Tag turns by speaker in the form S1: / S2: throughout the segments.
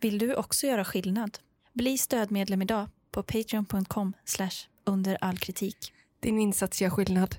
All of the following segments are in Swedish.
S1: Vill du också göra skillnad? Bli stödmedlem idag på patreon.com under all kritik.
S2: Din insats gör skillnad.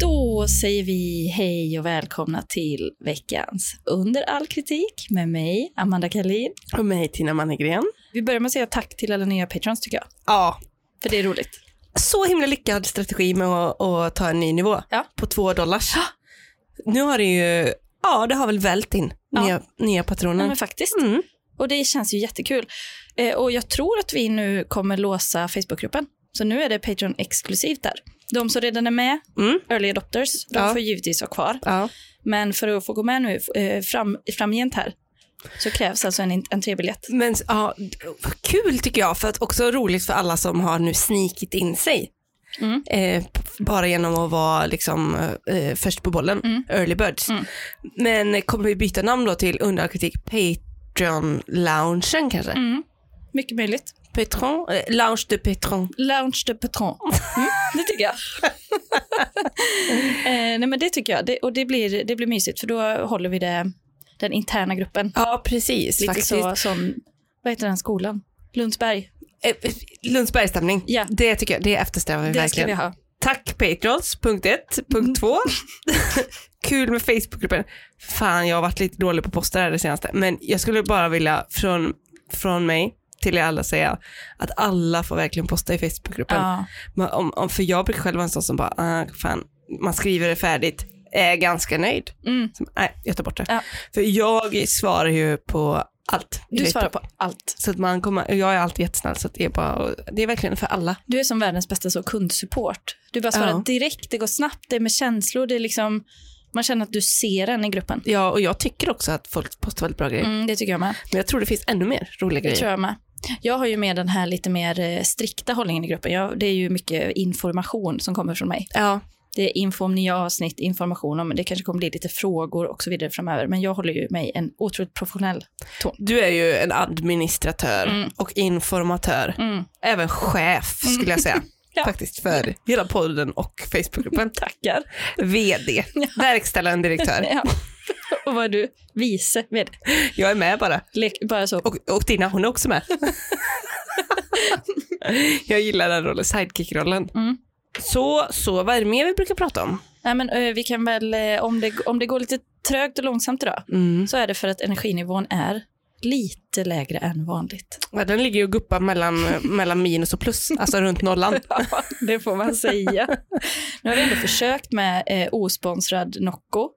S1: Då säger vi hej och välkomna till veckans Under all kritik med mig, Amanda Kalin.
S2: Och mig, Tina Mannegren.
S1: Vi börjar med att säga tack till alla nya patrons tycker jag,
S2: Ja.
S1: för det är roligt.
S2: Så himla lyckad strategi med att, att ta en ny nivå
S1: Ja.
S2: på två dollars. Nu har det ju, ja det har väl vält in
S1: Ja.
S2: nya, nya
S1: Ja,
S2: patroner.
S1: men faktiskt.
S2: Mm.
S1: Och det känns ju jättekul. Eh, och jag tror att vi nu kommer låsa Facebookgruppen. Så nu är det Patreon exklusivt där. De som redan är med,
S2: Mm.
S1: early adopters, de
S2: Ja.
S1: får givetvis ha kvar.
S2: Ja.
S1: Men för att få gå med nu eh, fram, framgent här så krävs alltså en entrébiljett.
S2: Men ja, kul tycker jag, för att också roligt för alla som har nu snikit in sig.
S1: Mm.
S2: Eh, bara genom att vara liksom, eh, först på bollen,
S1: Mm.
S2: early birds.
S1: Mm.
S2: Men kommer vi byta namn då till under all kritik Patreon-loungen kanske?
S1: Mm. Mycket möjligt.
S2: Patron, eh, lounge de Patron.
S1: Lounge de Patron. Mm, det tycker jag. eh, nej men det tycker jag. Det, och det blir, det blir mysigt för då håller vi det, den interna gruppen.
S2: Ja, precis.
S1: Lite
S2: faktiskt.
S1: så som, vad heter den skolan? Lundsberg.
S2: Eh, eh, Lundsbergsstämning,
S1: Ja.
S2: det tycker jag, det eftersträvar vi
S1: Det ska
S2: verkligen.
S1: vi ha.
S2: Tack Patrons, punkt ett.
S1: Mm.
S2: Punkt två, kul med Facebookgruppen. Fan, jag har varit lite dålig på poster här det senaste. Men jag skulle bara vilja från, från mig till er alla säga att alla får verkligen posta i Facebookgruppen.
S1: Ja.
S2: Men Om, om, för jag brukar själv vara en sån som bara, ah, fan, man skriver det färdigt, är ganska nöjd.
S1: Mm.
S2: Som, Nej, jag tar bort det.
S1: Ja.
S2: För jag svarar ju på allt.
S1: Du
S2: i Facebook.
S1: svarar på allt.
S2: Så att man kommer, och jag är alltid jättesnäll så att det är bara, det är verkligen för alla.
S1: Du är som världens bästa så kundsupport. Du bara svarar
S2: Ja.
S1: direkt, det går snabbt, det är med känslor, det är liksom, man känner att du ser den i gruppen.
S2: Ja, och jag tycker också att folk postar väldigt bra grejer.
S1: Mm, det tycker jag med.
S2: Men jag tror det finns ännu mer
S1: Det
S2: roliga grejer.
S1: tror jag med. Jag har ju med den här lite mer eh, strikta hållningen i gruppen. Jag, det är ju mycket information som kommer från mig.
S2: Ja,
S1: Det är info om nya avsnitt, information om, det kanske kommer bli lite frågor och så vidare framöver. Men jag håller ju mig en otroligt professionell ton.
S2: du är ju en administratör
S1: Mm.
S2: och informatör.
S1: Mm.
S2: Även chef skulle jag säga.
S1: Ja.
S2: Faktiskt för hela podden och Facebookgruppen.
S1: Tackar.
S2: VD, verkställande direktör.
S1: Ja. och vad är du? Vice med.
S2: Jag är med bara.
S1: Lek, bara så.
S2: Och, och Dina, hon är också med. jag gillar den rollen, sidekick-rollen.
S1: Mm.
S2: Så, så, vad är det mer vi brukar prata om?
S1: Nej, men, eh, vi kan väl, eh, om, det, om det går lite trögt och långsamt idag,
S2: Mm.
S1: så är det för att energinivån är lite lägre än vanligt.
S2: Ja, den ligger ju och guppar mellan, mellan minus och plus, alltså runt nollan.
S1: det får man säga. nu har vi ändå försökt med eh, osponsrad Nocco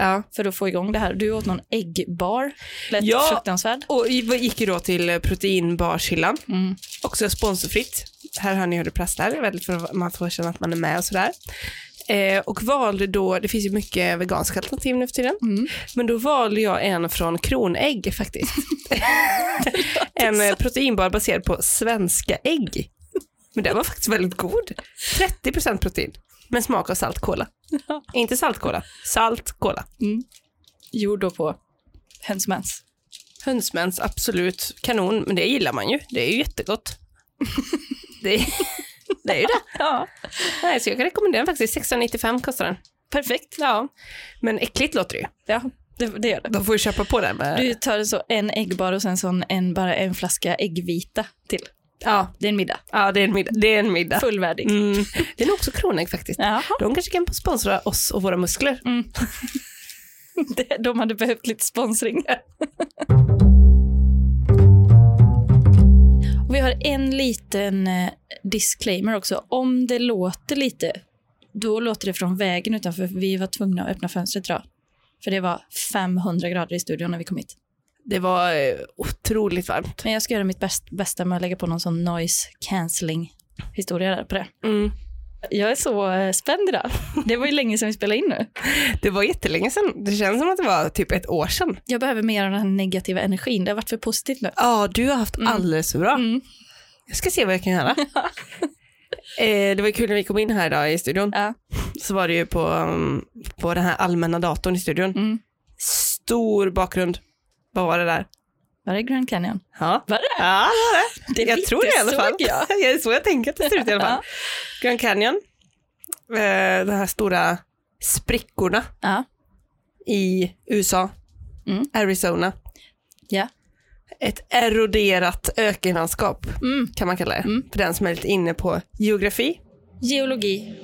S2: Ja.
S1: för att få igång det här. Du åt någon äggbar, lät
S2: Ja.
S1: fruktansvärd.
S2: Och vi gick ju då till eh, proteinbarshyllan,
S1: Mm.
S2: också sponsorfritt. Här hör ni hur det prasslar, väldigt för att man får känna att man är med och sådär. Eh, och valde då, det finns ju mycket veganska alternativ nu för tiden,
S1: Mm.
S2: men då valde jag en från Kronägg faktiskt. en eh, proteinbar baserad på svenska ägg. Men den var faktiskt väldigt god. 30% protein, men smak av saltkola.
S1: Ja.
S2: Inte saltkola, saltkola.
S1: Gjord då på hönsmens.
S2: Hönsmens, absolut. Kanon, men det gillar man ju. Det är ju jättegott. det, är, det är ju det.
S1: Ja.
S2: Nej, så jag kan rekommendera den faktiskt. 695 kostar den.
S1: Perfekt.
S2: Ja. Men äckligt låter det ju.
S1: Ja, det, det gör det.
S2: De får ju köpa på den. Med...
S1: Du tar så en äggbar och sen så en, bara en flaska äggvita till.
S2: Ja,
S1: Det är en middag.
S2: ja det, är en middag. det är en middag.
S1: Fullvärdig.
S2: Mm. Det är nog också Kronägg faktiskt.
S1: Jaha.
S2: De kanske kan sponsra oss och våra muskler.
S1: Mm. Det- De hade behövt lite sponsring. Och vi har en liten eh, disclaimer också. Om det låter lite, då låter det från vägen utanför. för Vi var tvungna att öppna fönstret idag. För det var 500 grader i studion när vi kom hit.
S2: Det var eh, otroligt varmt.
S1: Men jag ska göra mitt bäst, bästa med att lägga på någon sån noise cancelling historia där på det.
S2: Mm.
S1: Jag är så eh, spänd idag. Det var ju länge sedan vi spelade in nu.
S2: Det var jättelänge sedan. Det känns som att det var typ ett år sedan.
S1: Jag behöver mer av den här negativa energin. Det har varit för positivt nu.
S2: Ja, du har haft alldeles för bra.
S1: Mm.
S2: Jag ska se vad jag kan göra. Eh, det var ju kul när vi kom in här idag i studion.
S1: Ja.
S2: Så var det ju på, um, på den här allmänna datorn i studion.
S1: Mm.
S2: Stor bakgrund. Vad var det där?
S1: Var det Grand Canyon?
S2: Ja,
S1: Var det?
S2: ja det var det.
S1: det
S2: jag
S1: lite
S2: tror det i alla fall.
S1: såg jag.
S2: det är så jag tänker att det ser ut i alla fall. Grand Canyon. Eh, de här stora sprickorna
S1: Ja.
S2: i USA.
S1: Mm.
S2: Arizona.
S1: Ja.
S2: Ett eroderat ökenlandskap
S1: Mm.
S2: kan man kalla det.
S1: Mm.
S2: För den som är lite inne på geografi.
S1: Geologi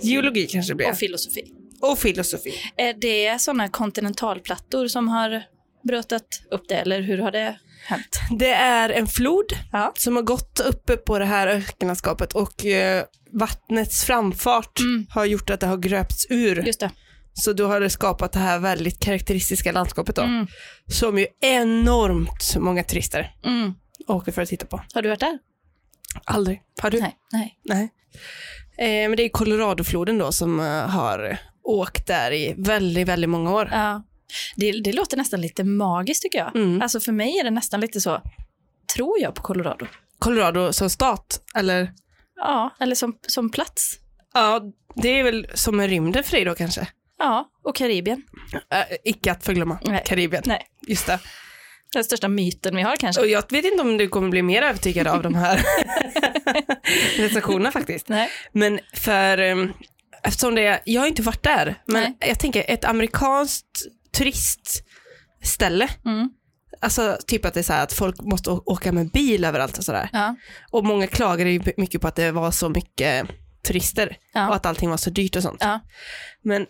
S2: Geologi kanske det blir.
S1: och filosofi.
S2: Och filosofi.
S1: Är det sådana kontinentalplattor som har brötat upp det, eller hur har det hänt?
S2: Det är en flod
S1: Ja.
S2: som har gått uppe på det här ökenlandskapet och eh, vattnets framfart
S1: Mm.
S2: har gjort att det har gröpts ur.
S1: Just det.
S2: Så då har det skapat det här väldigt karaktäristiska landskapet då.
S1: Mm.
S2: Som ju enormt många turister
S1: Mm.
S2: åker för att titta på.
S1: Har du varit där?
S2: Aldrig. Har du?
S1: Nej. Nej.
S2: Nej. Eh, men det är Coloradofloden då som eh, har åkt där i väldigt, väldigt många år.
S1: Ja. Det, det låter nästan lite magiskt tycker jag.
S2: Mm.
S1: Alltså för mig är det nästan lite så, tror jag på Colorado?
S2: Colorado som stat, eller?
S1: Ja, eller som, som plats.
S2: Ja, det är väl som en rymden för dig då kanske?
S1: Ja, och Karibien.
S2: Eh, icke att förglömma
S1: Nej.
S2: Karibien.
S1: Nej.
S2: Just det.
S1: Den största myten vi har kanske.
S2: Och jag vet inte om du kommer bli mer övertygad av de här recensionerna faktiskt.
S1: Nej.
S2: Men för, eh, eftersom det, jag har inte varit där, men
S1: Nej.
S2: jag tänker ett amerikanskt turistställe,
S1: Mm.
S2: alltså typ att det är så här att folk måste å- åka med bil överallt och sådär.
S1: Ja.
S2: Och många klagade ju mycket på att det var så mycket turister
S1: Ja.
S2: och att allting var så dyrt och sånt.
S1: Ja.
S2: Men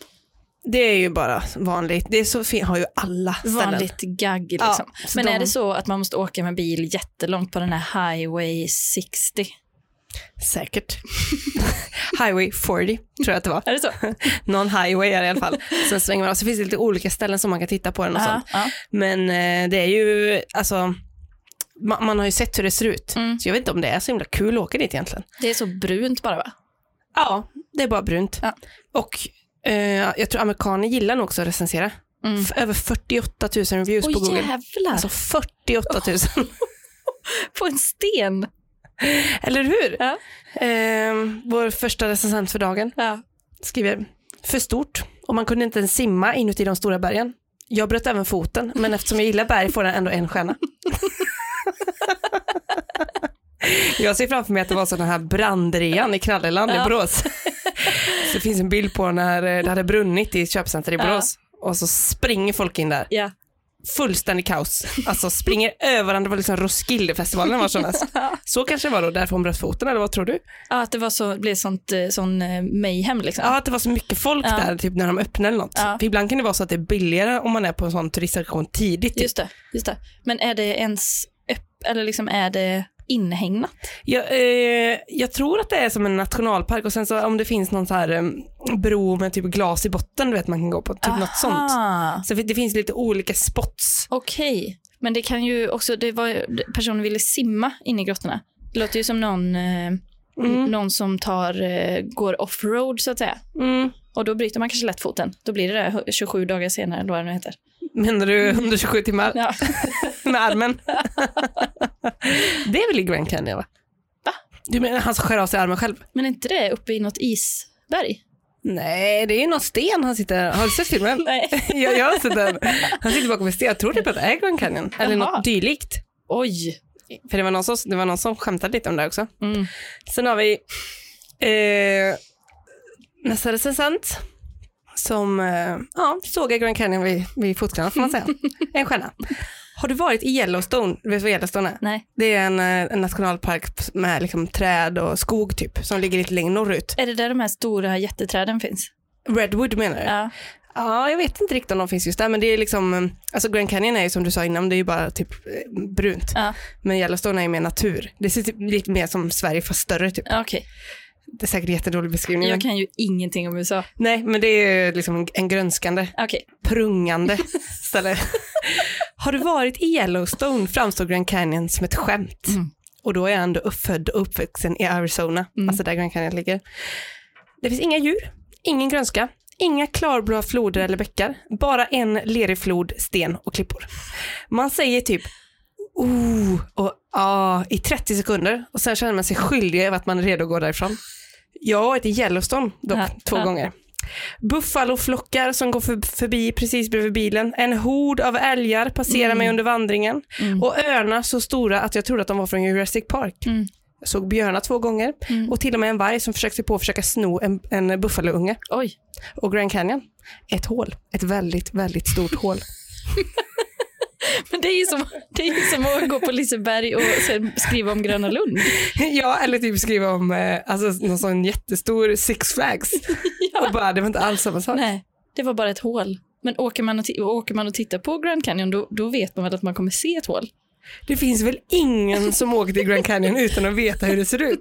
S2: det är ju bara vanligt, det är så fin- har ju alla ställen.
S1: Vanligt gagg liksom.
S2: Ja, så
S1: Men
S2: de-
S1: är det så att man måste åka med bil jättelångt på den här Highway 60?
S2: Säkert. highway 40 tror jag att det var.
S1: Är det så?
S2: Någon highway är det i alla fall. Sen svänger man av. Så finns det lite olika ställen som man kan titta på den och
S1: Ja,
S2: sånt.
S1: ja.
S2: Men eh, det är ju, alltså, man, man har ju sett hur det ser ut.
S1: Mm.
S2: Så jag vet inte om det är så himla kul att åka dit egentligen.
S1: Det är så brunt bara va?
S2: Ja, det är bara brunt.
S1: Ja.
S2: Och eh, jag tror amerikaner gillar nog också att recensera.
S1: Mm.
S2: F- Över 48 000 reviews på
S1: Åh
S2: Google.
S1: jävlar,
S2: Alltså 48 000.
S1: på en sten!
S2: Eller hur?
S1: Ja.
S2: Eh, vår första recensent för dagen.
S1: Ja.
S2: skriver för stort och man kunde inte ens simma inuti de stora bergen. Jag bröt även foten, men eftersom jag gillar berg får den ändå en stjärna. Jag ser framför mig att det var så den här brandrean i Knalleland
S1: Ja.
S2: i Borås. Så det finns en bild på när eh, det hade brunnit i ett köpcenter i
S1: Ja.
S2: Borås. Och så springer folk in där.
S1: Ja.
S2: Fullständig kaos. Alltså springer över varandra. Det var liksom Roskildefestivalen var som mest. Så kanske det var då, därför hon bröt foten, eller vad tror du?
S1: ja, att det var så, blev sånt, eh, sån eh, mayhem liksom.
S2: Ja, att det var så mycket folk
S1: Ja.
S2: där typ när de öppnar eller något.
S1: Ja.
S2: För ibland kan det vara så att det är billigare om man är på en sån turistattraktion tidigt.
S1: Just det, just det. Men är det ens öpp, eller liksom är det inhägnat?
S2: Jag, eh, jag tror att det är som en nationalpark och sen så om det finns någon så här eh, bro med typ glas i botten, du vet man kan gå på, typ något sånt.
S1: Aha.
S2: Så det finns lite olika spots.
S1: Okej, men det kan ju också, det var ju- personen ville simma in i grottorna. Det låter ju som någon, eh,
S2: Mm.
S1: någon som tar, eh, går offroad så att säga.
S2: Mm.
S1: Och då bryter man kanske lätt foten. Då blir det där 27 dagar senare, eller vad det nu heter.
S2: Menar du 127 timmar
S1: Mm. Ja.
S2: med armen? det är väl i Grand Canyon va?
S1: Va?
S2: Du menar han som skär av sig armen själv?
S1: Men är inte det uppe i något isberg?
S2: Nej, det är ju någon sten han sitter... Har du sett filmen?
S1: Nej.
S2: Ja, jag har sett den. Han sitter bakom en sten. Jag tror typ att det är Grand Canyon. Eller
S1: Jaha.
S2: något dylikt.
S1: Oj.
S2: För det var, någon som, det var någon som skämtade lite om det också.
S1: Mm.
S2: Sen har vi eh, nästa recensent som eh, ja, sågar Grand Canyon vid, vid fotknölarna får man säga. En stjärna. Har du varit i Yellowstone? Du vet vad Yellowstone är?
S1: Nej.
S2: Det är en, eh, en nationalpark med liksom träd och skog typ, som ligger lite längre norrut.
S1: Är det där de här stora jätteträden finns?
S2: Redwood menar du?
S1: Ja.
S2: Ja, jag vet inte riktigt om de finns just där, men det är liksom, eh, alltså Grand Canyon är ju som du sa innan, det är ju bara typ eh, brunt.
S1: Ja.
S2: Men Yellowstone är ju mer natur. Det ser typ lite mer som Sverige fast större typ.
S1: Okej.
S2: Det är säkert en jättedålig beskrivning.
S1: Jag
S2: men-
S1: kan ju ingenting om USA.
S2: Nej, men det är ju liksom en- en grönskande,
S1: Okej.
S2: prungande ställe. Har du varit i Yellowstone framstår Grand Canyon som ett skämt.
S1: Mm.
S2: Och då är jag ändå uppfödd och uppvuxen i Arizona,
S1: Mm.
S2: alltså där Grand Canyon ligger. Det finns inga djur, ingen grönska, inga klarblå floder eller bäckar, bara en lerig flod, sten och klippor. Man säger typ oh och ah i 30 sekunder och sen känner man sig skyldig över att man är redo att gå därifrån. Jag har varit i Yellowstone dock,
S1: Ja,
S2: två
S1: ja.
S2: gånger. Buffaloflockar som går för- förbi precis bredvid bilen. En hord av älgar passerar mig under vandringen.
S1: Mm.
S2: Och örnar så stora att jag trodde att de var från Jurassic Park.
S1: Mm.
S2: Jag såg björnar två gånger
S1: Mm.
S2: och till och med en varg som försökte på att försöka sno en, en buffalounge.
S1: Oj.
S2: Och Grand Canyon, ett hål. Ett väldigt, väldigt stort hål.
S1: Men det är ju som, det är ju som att gå på Liseberg och sen skriva om Gröna Lund.
S2: Ja, eller typ skriva om eh, alltså, någon sån jättestor Six Flags. Och bara, det var inte alls samma sak.
S1: Nej, det var bara ett hål. Men åker man och, ti- åker man och tittar på Grand Canyon, då, då vet man väl att man kommer se ett hål?
S2: Det finns väl ingen som åker till Grand Canyon utan att veta hur det ser ut.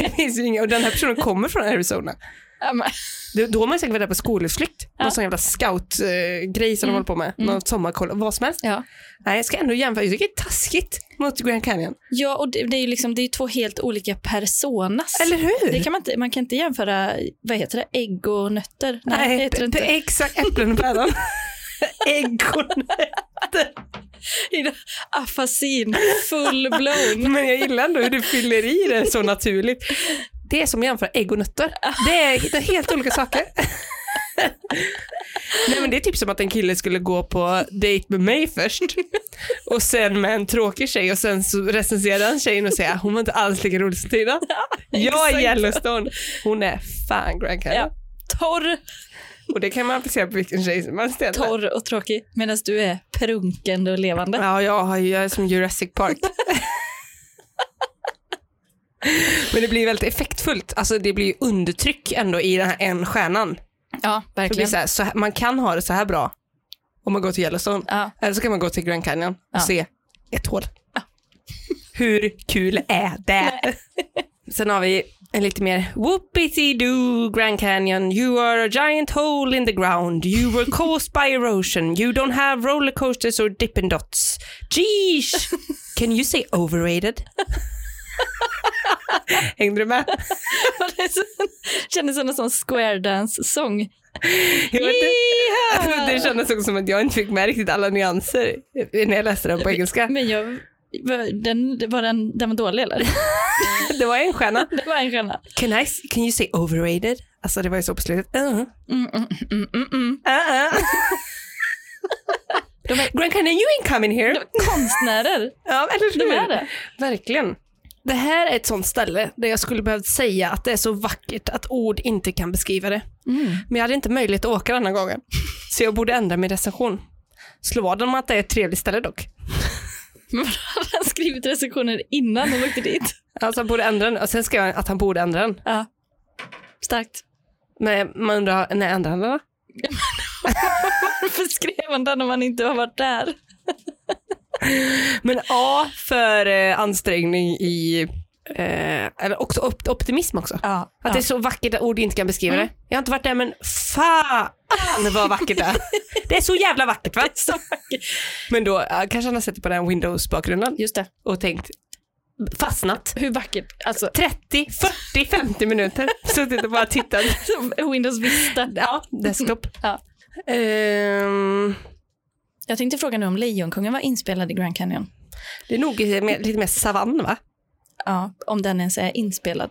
S2: Det finns ju inga. Och den här personen kommer från Arizona.
S1: Ja, men-
S2: Det- Då har man säkert varit där på skolutflykt.
S1: Ja.
S2: Någon sån jävla scoutgrej som de håller på med. Någon sommarkoll, vad som helst.
S1: Ja.
S2: Nej, jag ska ändå jämföra. Jag tycker det är taskigt mot Grand Canyon.
S1: Ja, och det, det är ju liksom, det är två helt olika personas.
S2: Eller hur?
S1: det kan man, inte, man kan inte jämföra, vad heter det, ägg och nötter? Nej, det heter det inte.
S2: det är exakt äpplen och päron. Ägg och
S1: Afasin, full blown.
S2: Men jag gillar ändå hur du fyller i det så naturligt. Det är som att jämföra ägg och nötter. Det är det är helt olika saker. Nej, men det är typ som att en kille skulle gå på dejt med mig först och sen med en tråkig tjej och sen så recensera den tjejen och säga hon var inte alls lika rolig som Tina. Jag är
S1: exakt.
S2: Yellowstone. Hon är fan Grand Canyon.
S1: Ja. Torr,
S2: Och det kan man applicera på vilken tjej som helst. egentligen.
S1: torr och tråkig, medan du är prunkande och levande.
S2: Ja, jag, har ju- jag är som Jurassic Park. Men det blir väldigt effektfullt. Alltså det blir ju undertryck ändå i den här en stjärnan.
S1: Ja,
S2: Det blir
S1: verkligen.
S2: så här, så här, man kan ha det så här bra om man går till Yellowstone.
S1: Ja.
S2: Eller så kan man gå till Grand Canyon och
S1: Ja.
S2: se ett hål. Hur kul är det? Sen har vi en lite mer whoopity-doo Grand Canyon. You are a giant hole in the ground. You were caused by erosion. You don't have roller coasters or dippin' dots. Geesh! Can you say overrated? Hängde du med?
S1: Det är så- kändes som en sån square dance-sång.
S2: Jag vet inte.
S1: Yeehaw!
S2: Det kändes också som att jag inte fick med riktigt alla nyanser när jag läste den på engelska.
S1: Men jag, den, var den, den var dålig eller?
S2: Det var en stjärna.
S1: Det var en stjärna.
S2: Can, I, can you say overrated? Alltså det var ju så på slutet. Uh, uh,
S1: Mm, mm, mm, mm, mm.
S2: uh. De är, Grand Canyon, you ain't coming here.
S1: Konstnärer,
S2: Ja, eller hur?
S1: de är det.
S2: Verkligen. Det här är ett sånt ställe där jag skulle behövt säga att det är så vackert att ord inte kan beskriva det. Men jag hade inte möjlighet att åka denna gången. Så jag borde ändra min recension. Slå vad om att det är ett trevligt ställe dock.
S1: Men hade han skrivit recensioner innan han åkte dit?
S2: Alltså han borde ändra den. Och sen ska jag att han borde ändra den.
S1: Ja. Starkt.
S2: Men man undrar, när ändrade han den då?
S1: Varför skrev han den om han inte har varit där?
S2: Men A för eh, ansträngning i, eh, eller också op- optimism också. Att
S1: Ja.
S2: det är så vackert att ord inte kan beskriva det. Jag har inte varit där men fan vad vackert det är. Det är så jävla vackert va? Men då eh, kanske han har sett det på den här Windows-bakgrunden
S1: Just det.
S2: och tänkt fastnat.
S1: Hur vackert. Alltså,
S2: 30, 40, 50 minuter. Suttit och bara tittat.
S1: Windows Vista.
S2: Ja, desktop.
S1: Ja.
S2: Ehm,
S1: Jag tänkte fråga nu om Lejonkungen var inspelad i Grand Canyon.
S2: det är nog lite mer- lite mer savann va?
S1: Ja, om den ens är inspelad.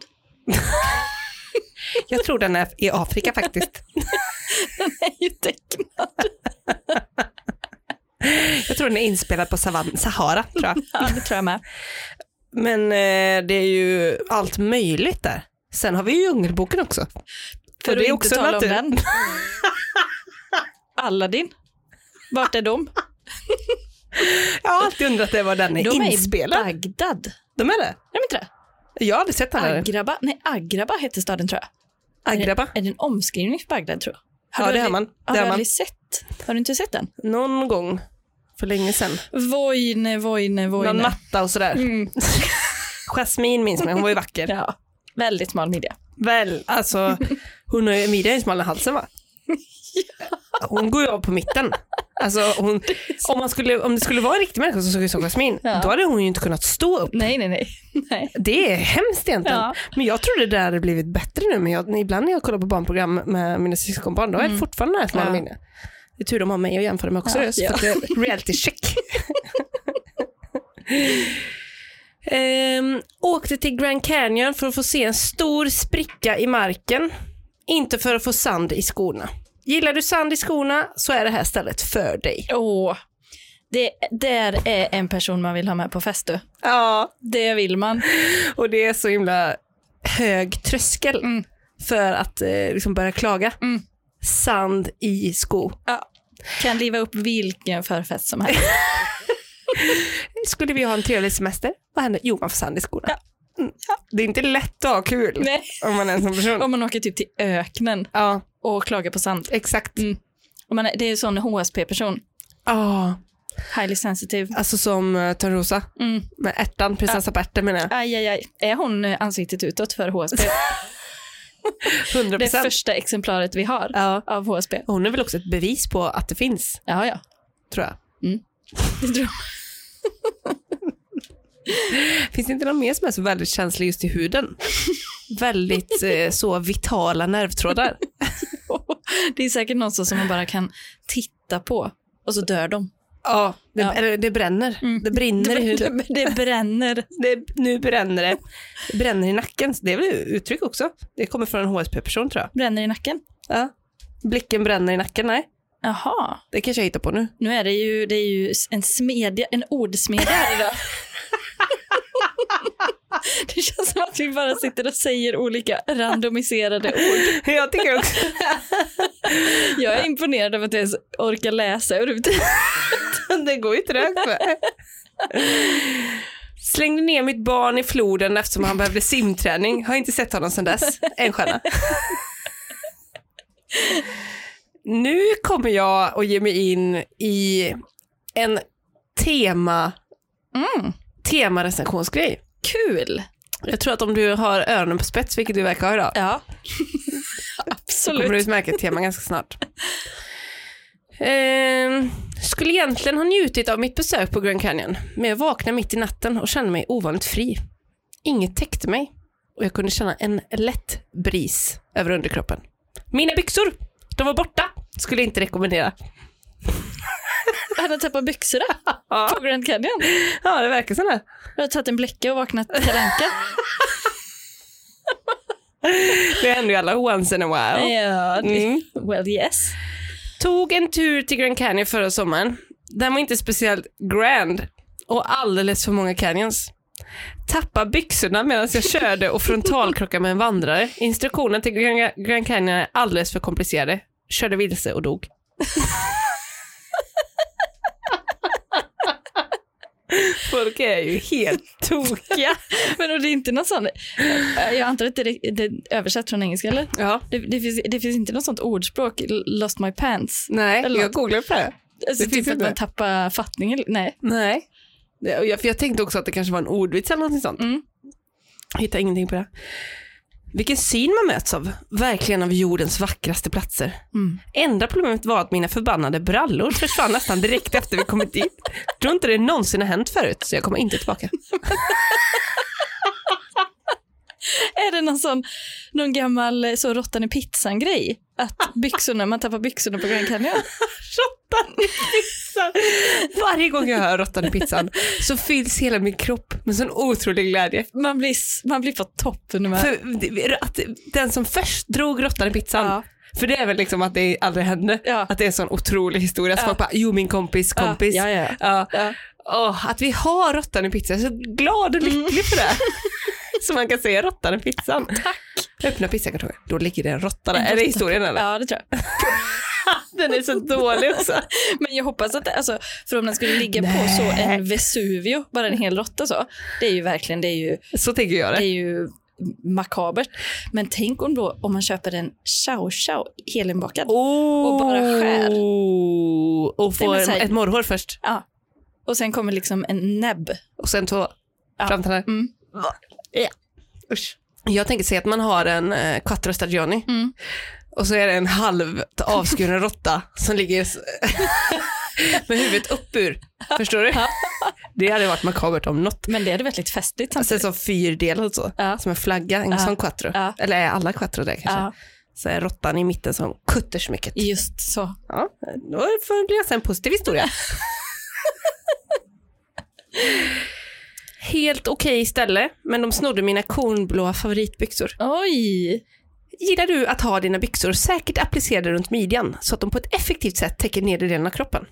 S2: Jag tror den är i Afrika faktiskt.
S1: Den är ju tecknad.
S2: Jag tror den är inspelad på savann, Sahara tror jag.
S1: Ja, det tror jag med.
S2: Men eh, det är ju allt möjligt där. Sen har vi ju Djungelboken också.
S1: För
S2: det
S1: att
S2: är
S1: inte
S2: också
S1: tala om
S2: natur.
S1: den. Aladdin. Vart är de?
S2: Jag har alltid undrat det var den är
S1: De är i
S2: inspelad.
S1: Bagdad.
S2: De är det?
S1: Är de inte det?
S2: Jag har aldrig sett den här.
S1: Agraba? Nej, Agraba hette staden tror jag.
S2: Agraba.
S1: Är det en omskrivning för Bagdad tror jag?
S2: Ja,
S1: du
S2: det har
S1: aldrig-
S2: man.
S1: Har du
S2: Det har man.
S1: aldrig sett? Har du inte sett den?
S2: Någon gång för länge sedan.
S1: Vojne, vojne,
S2: Någon
S1: vojne.
S2: matta och sådär.
S1: Mm.
S2: Jasmine minns man, hon var ju vacker.
S1: Ja, väldigt smal midja.
S2: Väl, alltså hon har ju midjan är smal i halsen va? Hon går ju av på mitten. Alltså hon, om, man skulle, om det skulle vara en riktig människa som såg ut som Jasmine,
S1: Ja.
S2: då hade hon ju inte kunnat stå upp.
S1: Nej, nej, nej. nej.
S2: Det är hemskt egentligen.
S1: Ja.
S2: Men jag trodde det hade blivit bättre nu. Men jag, ibland när jag kollar på barnprogram med mina syskonbarn, då är det fortfarande det här som
S1: Mm. Ja.
S2: ja. minne. Det är tur de har mig att jämföra med också.
S1: Ja.
S2: just för att det är reality check. Ehm, åkte till Grand Canyon för att få se en stor spricka i marken. Inte för att få sand i skorna. Gillar du sand i skorna så är det här stället för dig.
S1: Åh. Det där är en person man vill ha med på fest du.
S2: Ja,
S1: Det vill man.
S2: och det är så himla hög tröskel
S1: Mm.
S2: för att eh, liksom börja klaga.
S1: Mm.
S2: Sand i sko.
S1: Kan driva upp vilken förfest som helst.
S2: Skulle vi ha en trevlig semester? Vad händer? Jo, man får sand i skorna.
S1: Ja.
S2: Mm. Det är inte lätt att ha kul
S1: Nej.
S2: om man är en sån person.
S1: Om man åker typ till öknen
S2: Ja,
S1: och klagar på sand.
S2: exakt.
S1: Mm. Om man är, det är en sån HSP-person.
S2: Ja,
S1: Highly sensitive.
S2: alltså som eh, Törnrosa
S1: Mm.
S2: med ärtan, prinsessa på ärtan menar jag.
S1: Aj, aj, aj. Är hon eh, ansiktet utåt för HSP?
S2: 100
S1: Det första exemplaret vi har
S2: Ja.
S1: av HSP.
S2: Hon är väl också ett bevis på att det finns,
S1: Ja, ja.
S2: tror jag.
S1: Det tror jag.
S2: Finns det inte någon mer som är så väldigt känslig just i huden? väldigt eh, så vitala nervtrådar.
S1: Det är säkert någon som man bara kan titta på och så dör de.
S2: Ja, det,
S1: Ja.
S2: eller det bränner.
S1: Mm.
S2: Det brinner i huden.
S1: det bränner.
S2: Det, nu bränner det. Det bränner i nacken. Så det är väl ett uttryck också. Det kommer från en HSP-person tror jag.
S1: Bränner i nacken.
S2: Ja. Blicken bränner i nacken, nej.
S1: Jaha.
S2: Det kanske jag hittar på nu.
S1: Nu är det ju, det är ju en smedja, en ordsmedja här idag. Det känns som att vi bara sitter och säger olika randomiserade ord.
S2: jag tycker också
S1: Jag är imponerad av att jag ens orkar läsa överhuvudtaget.
S2: Det går ju trögt. va? Slängde ner mitt barn i floden eftersom han behövde simträning. Har inte sett honom sedan dess. En stjärna. Nu kommer jag att ge mig in i en tema,
S1: Mm.
S2: temarecensionsgrej.
S1: Kul!
S2: Jag tror att om du har öronen på spets, vilket du verkar ha idag,
S1: Ja.
S2: så kommer
S1: Absolut.
S2: du att märka ett tema ganska snart. Ehm, skulle egentligen ha njutit av mitt besök på Grand Canyon, men jag vaknade mitt i natten och kände mig ovanligt fri. Inget täckte mig och jag kunde känna en lätt bris över underkroppen. Mina byxor, de var borta. Skulle inte rekommendera.
S1: Hade han tappat byxorna
S2: Ja,
S1: på Grand Canyon?
S2: ja det verkar sådär.
S1: Jag har tagit en bläcka och vaknat Kalle Anka.
S2: Det händer ju alla once in a while.
S1: Ja, det-
S2: Mm.
S1: Well yes.
S2: Tog en tur till Grand Canyon förra sommaren. Den var inte speciellt grand och alldeles för många canyons. Tappa byxorna medan jag körde och frontalkrockade med en vandrare. Instruktionerna till Grand- Grand Canyon är alldeles för komplicerade. Körde vilse och dog. Folk är ju helt tokiga.
S1: Men och det är inte någon sån, jag antar att det är det är översatt från engelska eller?
S2: Ja,
S1: Det, det, finns, det finns inte något sånt ordspråk, l- lost my pants.
S2: nej,
S1: Eller
S2: jag googlade på det.
S1: Alltså
S2: Det finns
S1: typ att
S2: inte.
S1: man tappar fattningen. Nej.
S2: Nej. Det- och Jag, för jag tänkte också att det kanske var en ordvits eller något sånt.
S1: Mm.
S2: Jag hittar ingenting på det. Vilken syn man möts av. Verkligen av jordens vackraste platser.
S1: Mm.
S2: Enda problemet var att mina förbannade brallor försvann nästan direkt efter vi kommit dit. Tror inte det någonsin har hänt förut, så jag kommer inte tillbaka.
S1: Är det någon sån, någon gammal eh, så råttan i pizzan grej? Att byxorna, man tappar byxorna på Grand Canyon.
S2: Råttan i pizzan. Varje gång jag hör råttan i pizzan så fylls hela min kropp med sån otrolig glädje.
S1: Man blir, s- man blir på toppen. Med.
S2: För det- att den som först drog råttan i pizzan,
S1: Ja.
S2: för det är väl liksom att det aldrig hände,
S1: Ja.
S2: att det är en sån otrolig historia. Så
S1: Ja.
S2: folk bara, jo min kompis, kompis.
S1: Ja, ja,
S2: Ja.
S1: ja. Mm.
S2: Åh, att vi har råttan i pizzan, jag är så glad och lycklig för det. så man kan säga råttan i pizzan. Tack. Öppna pizzakartongen, då ligger det en råtta där. Är det historien eller?
S1: ja, det tror jag.
S2: Den är så dålig också.
S1: Men jag hoppas att det, alltså, för om den skulle ligga på
S2: Nej.
S1: så en Vesuvio, bara en hel råtta så, det är ju verkligen, det är ju,
S2: Så tänker jag
S1: det
S2: det.
S1: är ju makabert. Men tänk om då, om man köper en chow chow helinbakad.
S2: Oh.
S1: Och bara skär.
S2: Och
S1: Nej,
S2: får
S1: men så här-
S2: ett morrhår först
S1: Ja. Och sen kommer liksom en näbb.
S2: och sen två
S1: Ja.
S2: framtänder.
S1: Mm.
S2: Ja. Usch. Jag tänker säga att man har en eh, quattro stagioni
S1: Mm.
S2: och så är det en halvt avskuren råtta som ligger s- med huvudet upp ur. Förstår du? Det hade varit makabert om något.
S1: Men det är det väldigt festligt
S2: Sen
S1: samtidigt.
S2: så fyrdelad så,
S1: Ja.
S2: som en flagga, en
S1: Ja.
S2: sån quattro.
S1: Ja.
S2: Eller är alla quattro det kanske?
S1: Ja,
S2: Så är råttan i mitten som kuttersmycket.
S1: just så.
S2: Ja, då får det bli alltså en positiv historia. helt okej ställe, men de snodde mina kornblåa favoritbyxor.
S1: Oj!
S2: Gillar du att ha dina byxor säkert applicerade runt midjan så att de på ett effektivt sätt täcker nedre delen av kroppen?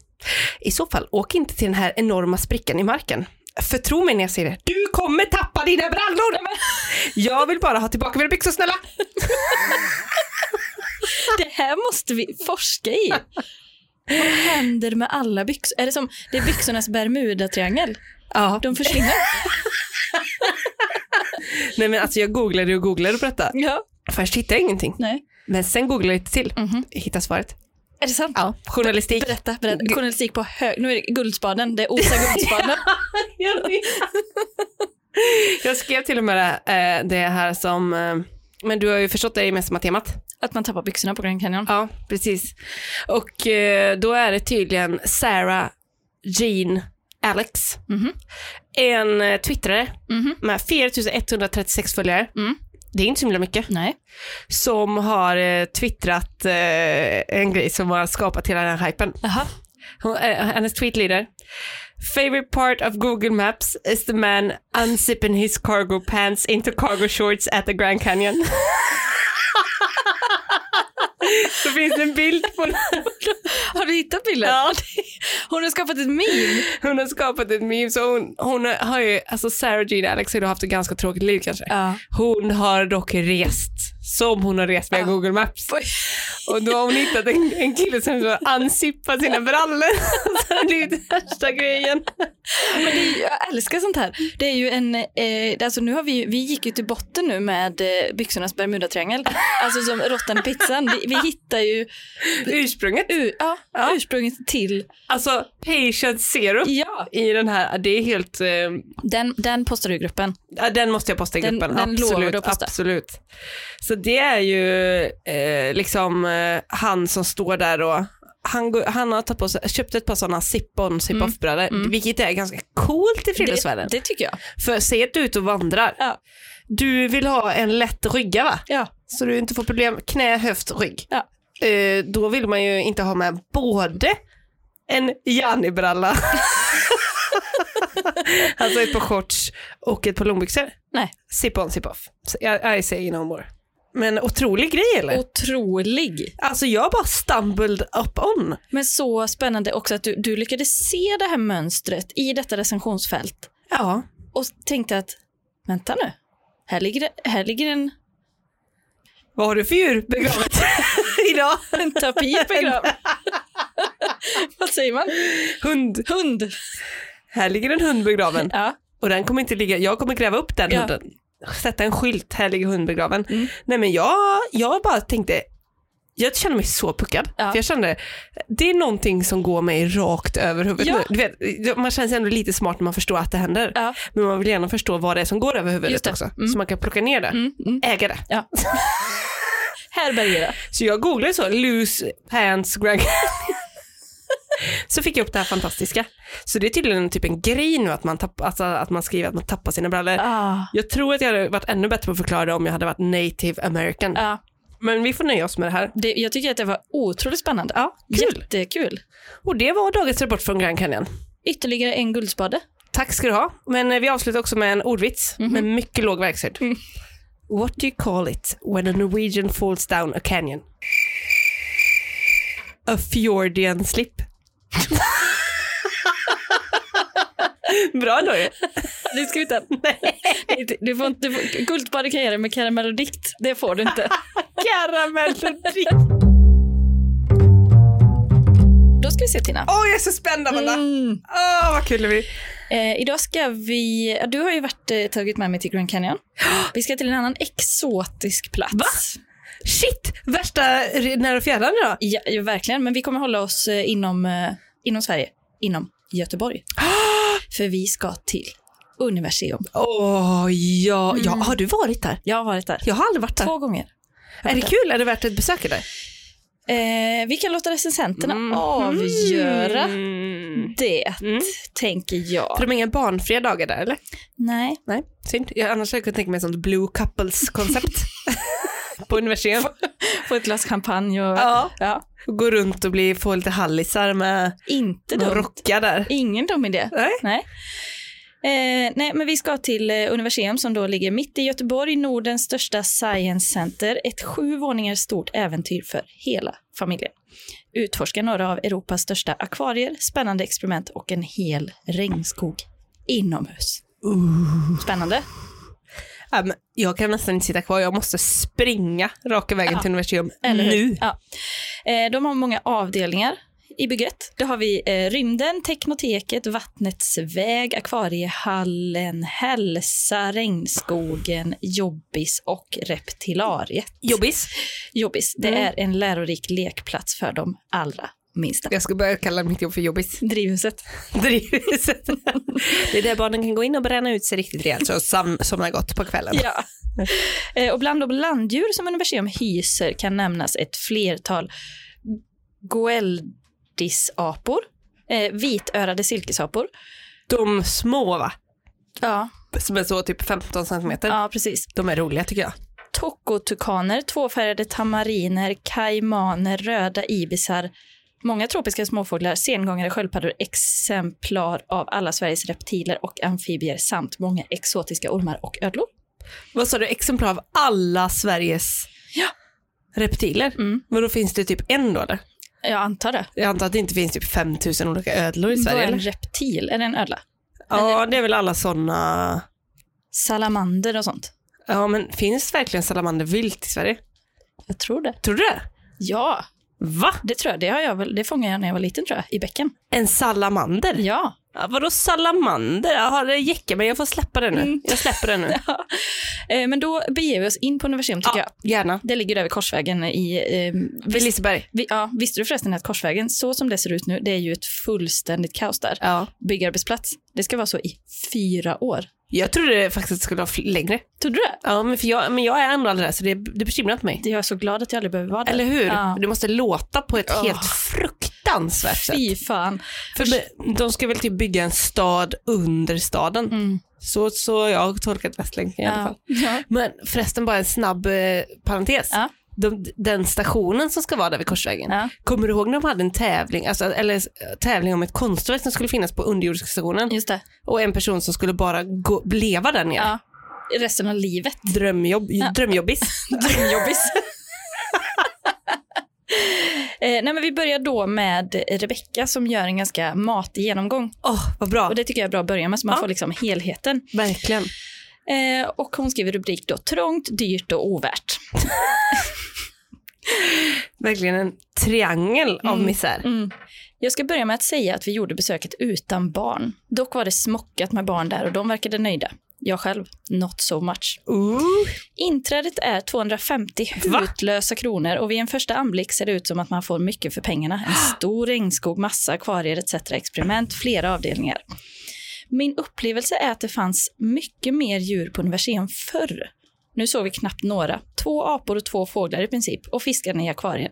S2: I så fall, åk inte till den här enorma sprickan i marken. För tro mig när jag säger det, du kommer tappa dina brallor! Jag vill bara ha tillbaka mina byxor snälla!
S1: Det här måste vi forska i. Vad händer med alla byxor? Är det som det är byxornas Bermuda-triangel?
S2: Ja.
S1: De försvinner.
S2: Nej men alltså jag googlade och googlade på detta.
S1: Ja.
S2: Först hittade jag ingenting.
S1: Nej.
S2: Men sen googlade jag lite till.
S1: Mhm.
S2: Hittade svaret.
S1: Är det sant?
S2: Ja, journalistik.
S1: Berätta, berätta. Journalistik på hög... Nu är det Guldspaden. Det är Osa Guldspaden.
S2: jag skrev till och med det, eh, det här som, eh, men du har ju förstått det i Mästarma-temat.
S1: Att man tappar byxorna på Grand Canyon.
S2: Ja, precis. Och eh, då är det tydligen Sarah Jean Alex.
S1: Mhm.
S2: En eh, twittrare
S1: Mhm.
S2: med 4136 följare.
S1: Mm.
S2: Det är inte så himla mycket.
S1: Nej.
S2: Som har eh, twittrat eh, en grej som har skapat hela den här hypen.
S1: Jaha.
S2: Hon, eh, hennes tweet lyder. Favorite part of Google Maps is the man unzipping his cargo pants into cargo shorts at the Grand Canyon. Så finns det en bild på
S1: Har du hittat bilden?
S2: Ja.
S1: Hon har skapat ett meme.
S2: Hon har skapat ett meme, så hon, hon har ju, alltså Sarah Jean Alex har ju då haft ett ganska tråkigt liv kanske.
S1: Ja.
S2: Hon har dock rest som hon har rest med
S1: Ja.
S2: Google Maps.
S1: Oj.
S2: Och då har hon hittat en, en kille som så ansippar sina brallor. Så det är ju den värsta grejen.
S1: Men det är, ju- jag älskar sånt här. Det är ju en, eh, alltså nu har vi, ju- vi gick ju till botten nu med eh, byxornas Bermuda-triangel. Alltså som råttan i pizzan. Vi, vi hittar ju
S2: Ursprunget.
S1: u, ja,
S2: Ja.
S1: ursprunget till,
S2: Alltså patient zero
S1: ja,
S2: i den här, det är helt, eh,
S1: den, den postar du i gruppen.
S2: ja, den måste jag posta i
S1: Den-
S2: gruppen.
S1: den lovar
S2: absolut,
S1: du att posta.
S2: absolut. Så det är ju eh, liksom eh, han som står där och han, går- han har tagit på sig, köpt ett par sådana zip-on, zip-off-brallor,
S1: Mm.
S2: vilket är ganska coolt i friluftsvärlden.
S1: Det, det tycker jag.
S2: För se att du är ute och vandrar.
S1: Ja.
S2: Du vill ha en lätt rygga va?
S1: Ja.
S2: Så du inte får problem knä, höft, rygg.
S1: Ja.
S2: Eh, då vill man ju inte ha med både en Janni-bralla, alltså ett par shorts och ett par långbyxor.
S1: Nej.
S2: Zip on, zip off. Så I, I say no more. Men otrolig grej eller?
S1: Otrolig.
S2: Alltså jag bara stumbled up on.
S1: Men så spännande också att du, du lyckades se det här mönstret i detta recensionsfält
S2: Ja.
S1: och tänkte att vänta nu, här ligger, det- här ligger en,
S2: Vad har du för djur begravet idag?
S1: en tapir begravd. Vad säger man?
S2: Hund.
S1: Hund.
S2: Här ligger en hund begraven.
S1: Ja.
S2: Och den kommer inte ligga, jag kommer gräva upp den
S1: Ja.
S2: hunden. Sätta en skylt, här ligger hund begraven.
S1: Mm.
S2: Nej men jag, jag bara tänkte, jag kände mig så puckad.
S1: Ja.
S2: För jag kände, det är någonting som går mig rakt över huvudet
S1: Ja.
S2: nu. Du vet, man känner sig ändå lite smart när man förstår att det händer.
S1: Ja.
S2: Men man vill gärna förstå vad det är som går över
S1: Just
S2: huvudet
S1: det.
S2: också.
S1: Mm.
S2: Så man kan plocka ner det.
S1: Mm, mm.
S2: Äga det.
S1: Ja. Härbärgera.
S2: Så jag googlade så, loose pants Greg. så fick jag upp det här fantastiska. Så det är tydligen typ en grej nu att man, tapp, alltså, att man skriver att man tappar sina brallor.
S1: Ah.
S2: Jag tror att jag hade varit ännu bättre på att förklara det om jag hade varit native american.
S1: Ja,
S2: Men vi får nöja oss med det här.
S1: det, jag tycker att det var otroligt spännande.
S2: Ja, kul.
S1: Jättekul.
S2: Och det var dagens rapport från Grand Canyon.
S1: Ytterligare en guldspade.
S2: Tack ska du ha. Men eh, vi avslutar också med en ordvits med mycket låg verkshöjd. What do you call it when a Norwegian falls down a canyon? A fjordian slip. Bra då ju.
S1: Du skrivit den? Nej. Du får inte, du får, guldspade kan jag ge dig, men karamell och dikt, det får du inte.
S2: Karamell och drick.
S1: Då ska vi se Tina.
S2: Åh, jag är så spänd Amanda. Åh,
S1: Mm.
S2: vad kul det blir.
S1: Eh, idag ska vi, ja, du har ju varit, eh, tagit med mig till Grand Canyon. Vi ska till en annan exotisk plats. Va?
S2: Shit, värsta r- nära och fjärran idag.
S1: Ja, ja, verkligen, men vi kommer hålla oss eh, inom, eh, inom Sverige, inom Göteborg. För vi ska till Universium.
S2: Åh, ja, ja. Har du varit där?
S1: Jag har varit där
S2: Jag har aldrig varit där.
S1: två gånger.
S2: Är det kul? Är det värt ett besök eller?
S1: Eh, vi kan låta recensenterna
S2: Mm.
S1: avgöra
S2: Mm.
S1: det,
S2: Mm.
S1: tänker jag.
S2: För de har inga barnfria dagar där eller?
S1: Nej.
S2: Nej, synd. Jag, annars hade jag kunnat tänka mig ett sånt blue couples-koncept. på universum.
S1: Få ett glas champagne och...
S2: Ja.
S1: Ja.
S2: Gå runt och bli, få lite hallisar med
S1: Inte
S2: och
S1: dumt.
S2: rocka där.
S1: Ingen dum idé.
S2: Nej.
S1: Nej. Eh, nej, men vi ska till eh, Universium som då ligger mitt i Göteborg, Nordens största science center. Ett sju våningar stort äventyr för hela familjen. Utforska några av Europas största akvarier, spännande experiment och en hel regnskog inomhus. Spännande.
S2: Ja, men jag kan nästan inte sitta kvar, jag måste springa raka vägen
S1: Ja.
S2: till universium
S1: Eller hur?
S2: nu.
S1: Ja. Eh, De har många avdelningar i bygget. Då har vi eh, rymden, teknoteket, vattnets väg, akvariehallen, hälsa, regnskogen, jobbis och reptilariet.
S2: Jobbis.
S1: Jobbis, det
S2: Mm.
S1: är en lärorik lekplats för de allra minsta.
S2: Jag ska börja kalla mitt jobb för jobbis.
S1: Drivhuset.
S2: Drivhuset. det är där barnen kan gå in och bränna ut sig riktigt rejält så sam- somna gott på kvällen.
S1: Ja. Eh, Och bland de landdjur som Universium hyser kan nämnas ett flertal goeldisapor, eh, vitörade silkesapor.
S2: De små va?
S1: Ja,
S2: Som är så typ 15 centimeter.
S1: ja precis.
S2: De är roliga tycker jag.
S1: Tokotukaner, tvåfärgade tamariner, kaimaner, röda ibisar, många tropiska småfåglar, sengångare, sköldpaddor, exemplar av alla Sveriges reptiler och amfibier samt många exotiska ormar och ödlor.
S2: Vad sa du, exemplar av alla Sveriges
S1: Ja.
S2: reptiler?
S1: Mm.
S2: Men då finns det typ en då eller?
S1: Jag antar det.
S2: Jag antar att det inte finns typ 5000 olika ödlor i
S1: Vad
S2: Sverige
S1: är en
S2: eller?
S1: reptil? Är det en ödla?
S2: Ja, det är väl alla sådana.
S1: Salamander och sånt?
S2: Ja, men finns verkligen salamander vilt i Sverige?
S1: Jag tror det.
S2: Tror du det?
S1: Ja,
S2: Va?
S1: det tror jag. Det, har jag väl, det fångade jag när jag var liten tror jag, i bäcken.
S2: En salamander?
S1: Ja.
S2: Ja, vadå salamander? Jaha, det jäckar mig. Jag får släppa det nu.
S1: Mm.
S2: Jag släpper det nu.
S1: Eh, Men då beger vi oss in på universum tycker jag.
S2: gärna.
S1: Det ligger där vid Korsvägen i... Eh,
S2: Vid
S1: Vis-
S2: Liseberg?
S1: Vi, ja, visste du förresten att Korsvägen, så som det ser ut nu, det är ju ett fullständigt kaos där.
S2: Ja.
S1: Byggarbetsplats, det ska vara så i fyra år.
S2: Jag trodde det faktiskt skulle vara fl- längre.
S1: Trodde du det?
S2: Ja, men, för jag, men jag är ändå aldrig där, så det, det bekymrar inte mig.
S1: Jag är så glad att jag aldrig behöver vara där.
S2: Eller hur?
S1: Ja.
S2: Det måste låta på ett
S1: Ja.
S2: helt fruktansvärt sätt.
S1: Fy fan.
S2: För be- de ska väl typ bygga en stad under staden.
S1: Mm.
S2: Så, så jag har tolkat Västlänken i alla fall.
S1: Ja. Ja.
S2: Men förresten bara en snabb eh, parentes.
S1: Ja.
S2: De, den stationen som ska vara där vid Korsvägen.
S1: Ja.
S2: Kommer du ihåg när de hade en tävling, alltså, eller eh, tävling om ett konstverk som skulle finnas på underjordiska stationen
S1: Just det.
S2: och en person som skulle bara gå, leva där nere.
S1: Ja. Resten av livet.
S2: Drömjobb, Drömjobbis.
S1: Drömjobbis. eh, nej men vi börjar då med Rebecka som gör en ganska matig genomgång.
S2: Åh, vad bra.
S1: Och det tycker jag är bra att börja med så man
S2: Ja.
S1: får liksom helheten.
S2: Verkligen.
S1: Eh, och hon skriver rubrik då, trångt, dyrt och ovärt.
S2: Verkligen en triangel av
S1: Mm.
S2: misär.
S1: Mm. Jag ska börja med att säga att vi gjorde besöket utan barn. Dock var det smockat med barn där och de verkade nöjda. Jag själv, not so much.
S2: Ooh.
S1: Inträdet är 250
S2: Va?
S1: hutlösa kronor och vid en första anblick ser det ut som att man får mycket för pengarna. En stor regnskog, massa akvarier etc. experiment, flera avdelningar. Min upplevelse är att det fanns mycket mer djur på universum förr. Nu såg vi knappt några. Två apor och två fåglar i princip och fiskarna i akvarien.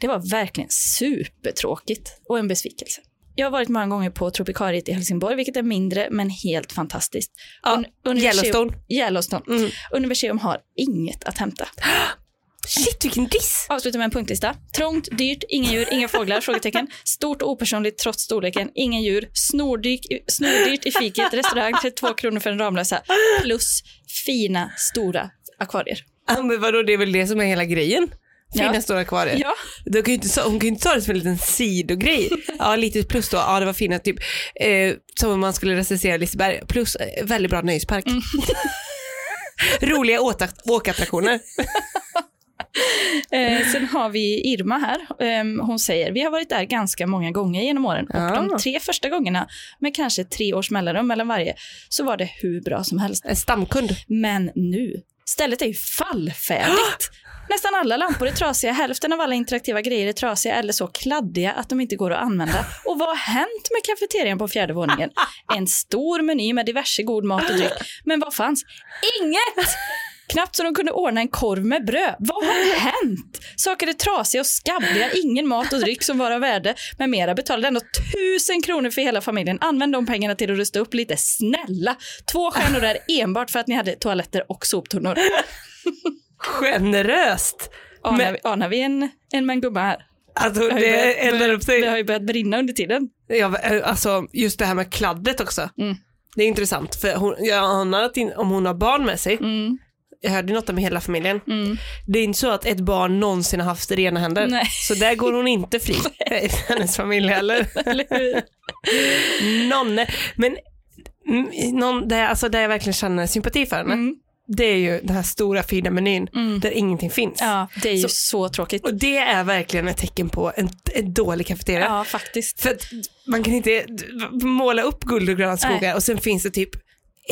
S1: Det var verkligen supertråkigt och en besvikelse. Jag har varit många gånger på Tropikariet i Helsingborg, vilket är mindre men helt fantastiskt.
S2: Ja,
S1: Un- universum-
S2: Yellowstone.
S1: Yellowstone.
S2: Mm.
S1: Universium har inget att hämta.
S2: Shit vilken diss.
S1: Avsluta med en punktlista. Trångt, dyrt, inga djur, inga fåglar? frågetecken. Stort och opersonligt trots storleken, inga djur. Snordyrt, snordyrt i fiket, restaurang, 32 kronor för en Ramlösa. Plus fina, stora akvarier.
S2: Ja, men vadå, det är väl det som är hela grejen? Fina
S1: Ja.
S2: stora kvar
S1: Ja,
S2: Du kan ju inte, ta- hon kan ju inte ta det som en liten sidogrej. Ja, lite plus då. Ja, det var fina typ. Eh, som om man skulle recensera Liseberg. Plus eh, väldigt bra nöjespark.
S1: Mm.
S2: Roliga åta- åkattraktioner.
S1: eh, sen har vi Irma här. Ehm, hon säger, vi har varit där ganska många gånger genom åren och
S2: Ja.
S1: de tre första gångerna, med kanske tre års mellanrum mellan varje, så var det hur bra som helst.
S2: En stamkund.
S1: Men nu, stället är ju fallfärdigt. Nästan alla lampor är trasiga, hälften av alla interaktiva grejer är trasiga eller så kladdiga att de inte går att använda. Och vad har hänt med kafeterian på fjärde våningen? En stor meny med diverse god mat och dryck. Men vad fanns? Inget! Knappt så de kunde ordna en korv med bröd. Vad har hänt? Saker är trasiga och skabbiga, ingen mat och dryck som var av värde med mera. Betalade ändå tusen kronor för hela familjen. Använd de pengarna till att rusta upp lite. Snälla! Två stjärnor där enbart för att ni hade toaletter och soptunnor.
S2: Generöst.
S1: Anar,
S2: Men-
S1: vi, anar vi en, en mängd gubbar här?
S2: Alltså
S1: har ju börjat-
S2: det eldar upp
S1: Det
S2: sig.
S1: har ju börjat brinna under tiden.
S2: Ja, eh, alltså just det här med kladdet också.
S1: Mm.
S2: Det är intressant, för hon, jag anar att in, om hon har barn med sig,
S1: Mm,
S2: jag hörde ju något om hela familjen,
S1: mm.
S2: det är inte så att ett barn någonsin har haft rena händer.
S1: Nej.
S2: Så där går hon inte fri i hennes familj heller.
S1: Eller hur?
S2: Någon, eh, men mm, någon, där, alltså där jag verkligen känner sympati för henne,
S1: Mm,
S2: det är ju den här stora fina menyn
S1: mm.
S2: där ingenting finns.
S1: Ja, det är ju
S2: Så-
S1: så, tråkigt.
S2: Och det är verkligen ett tecken på en, en dålig kafeteria.
S1: Ja, faktiskt.
S2: För att man kan inte d- måla upp guld och gröna skogar och sen finns det typ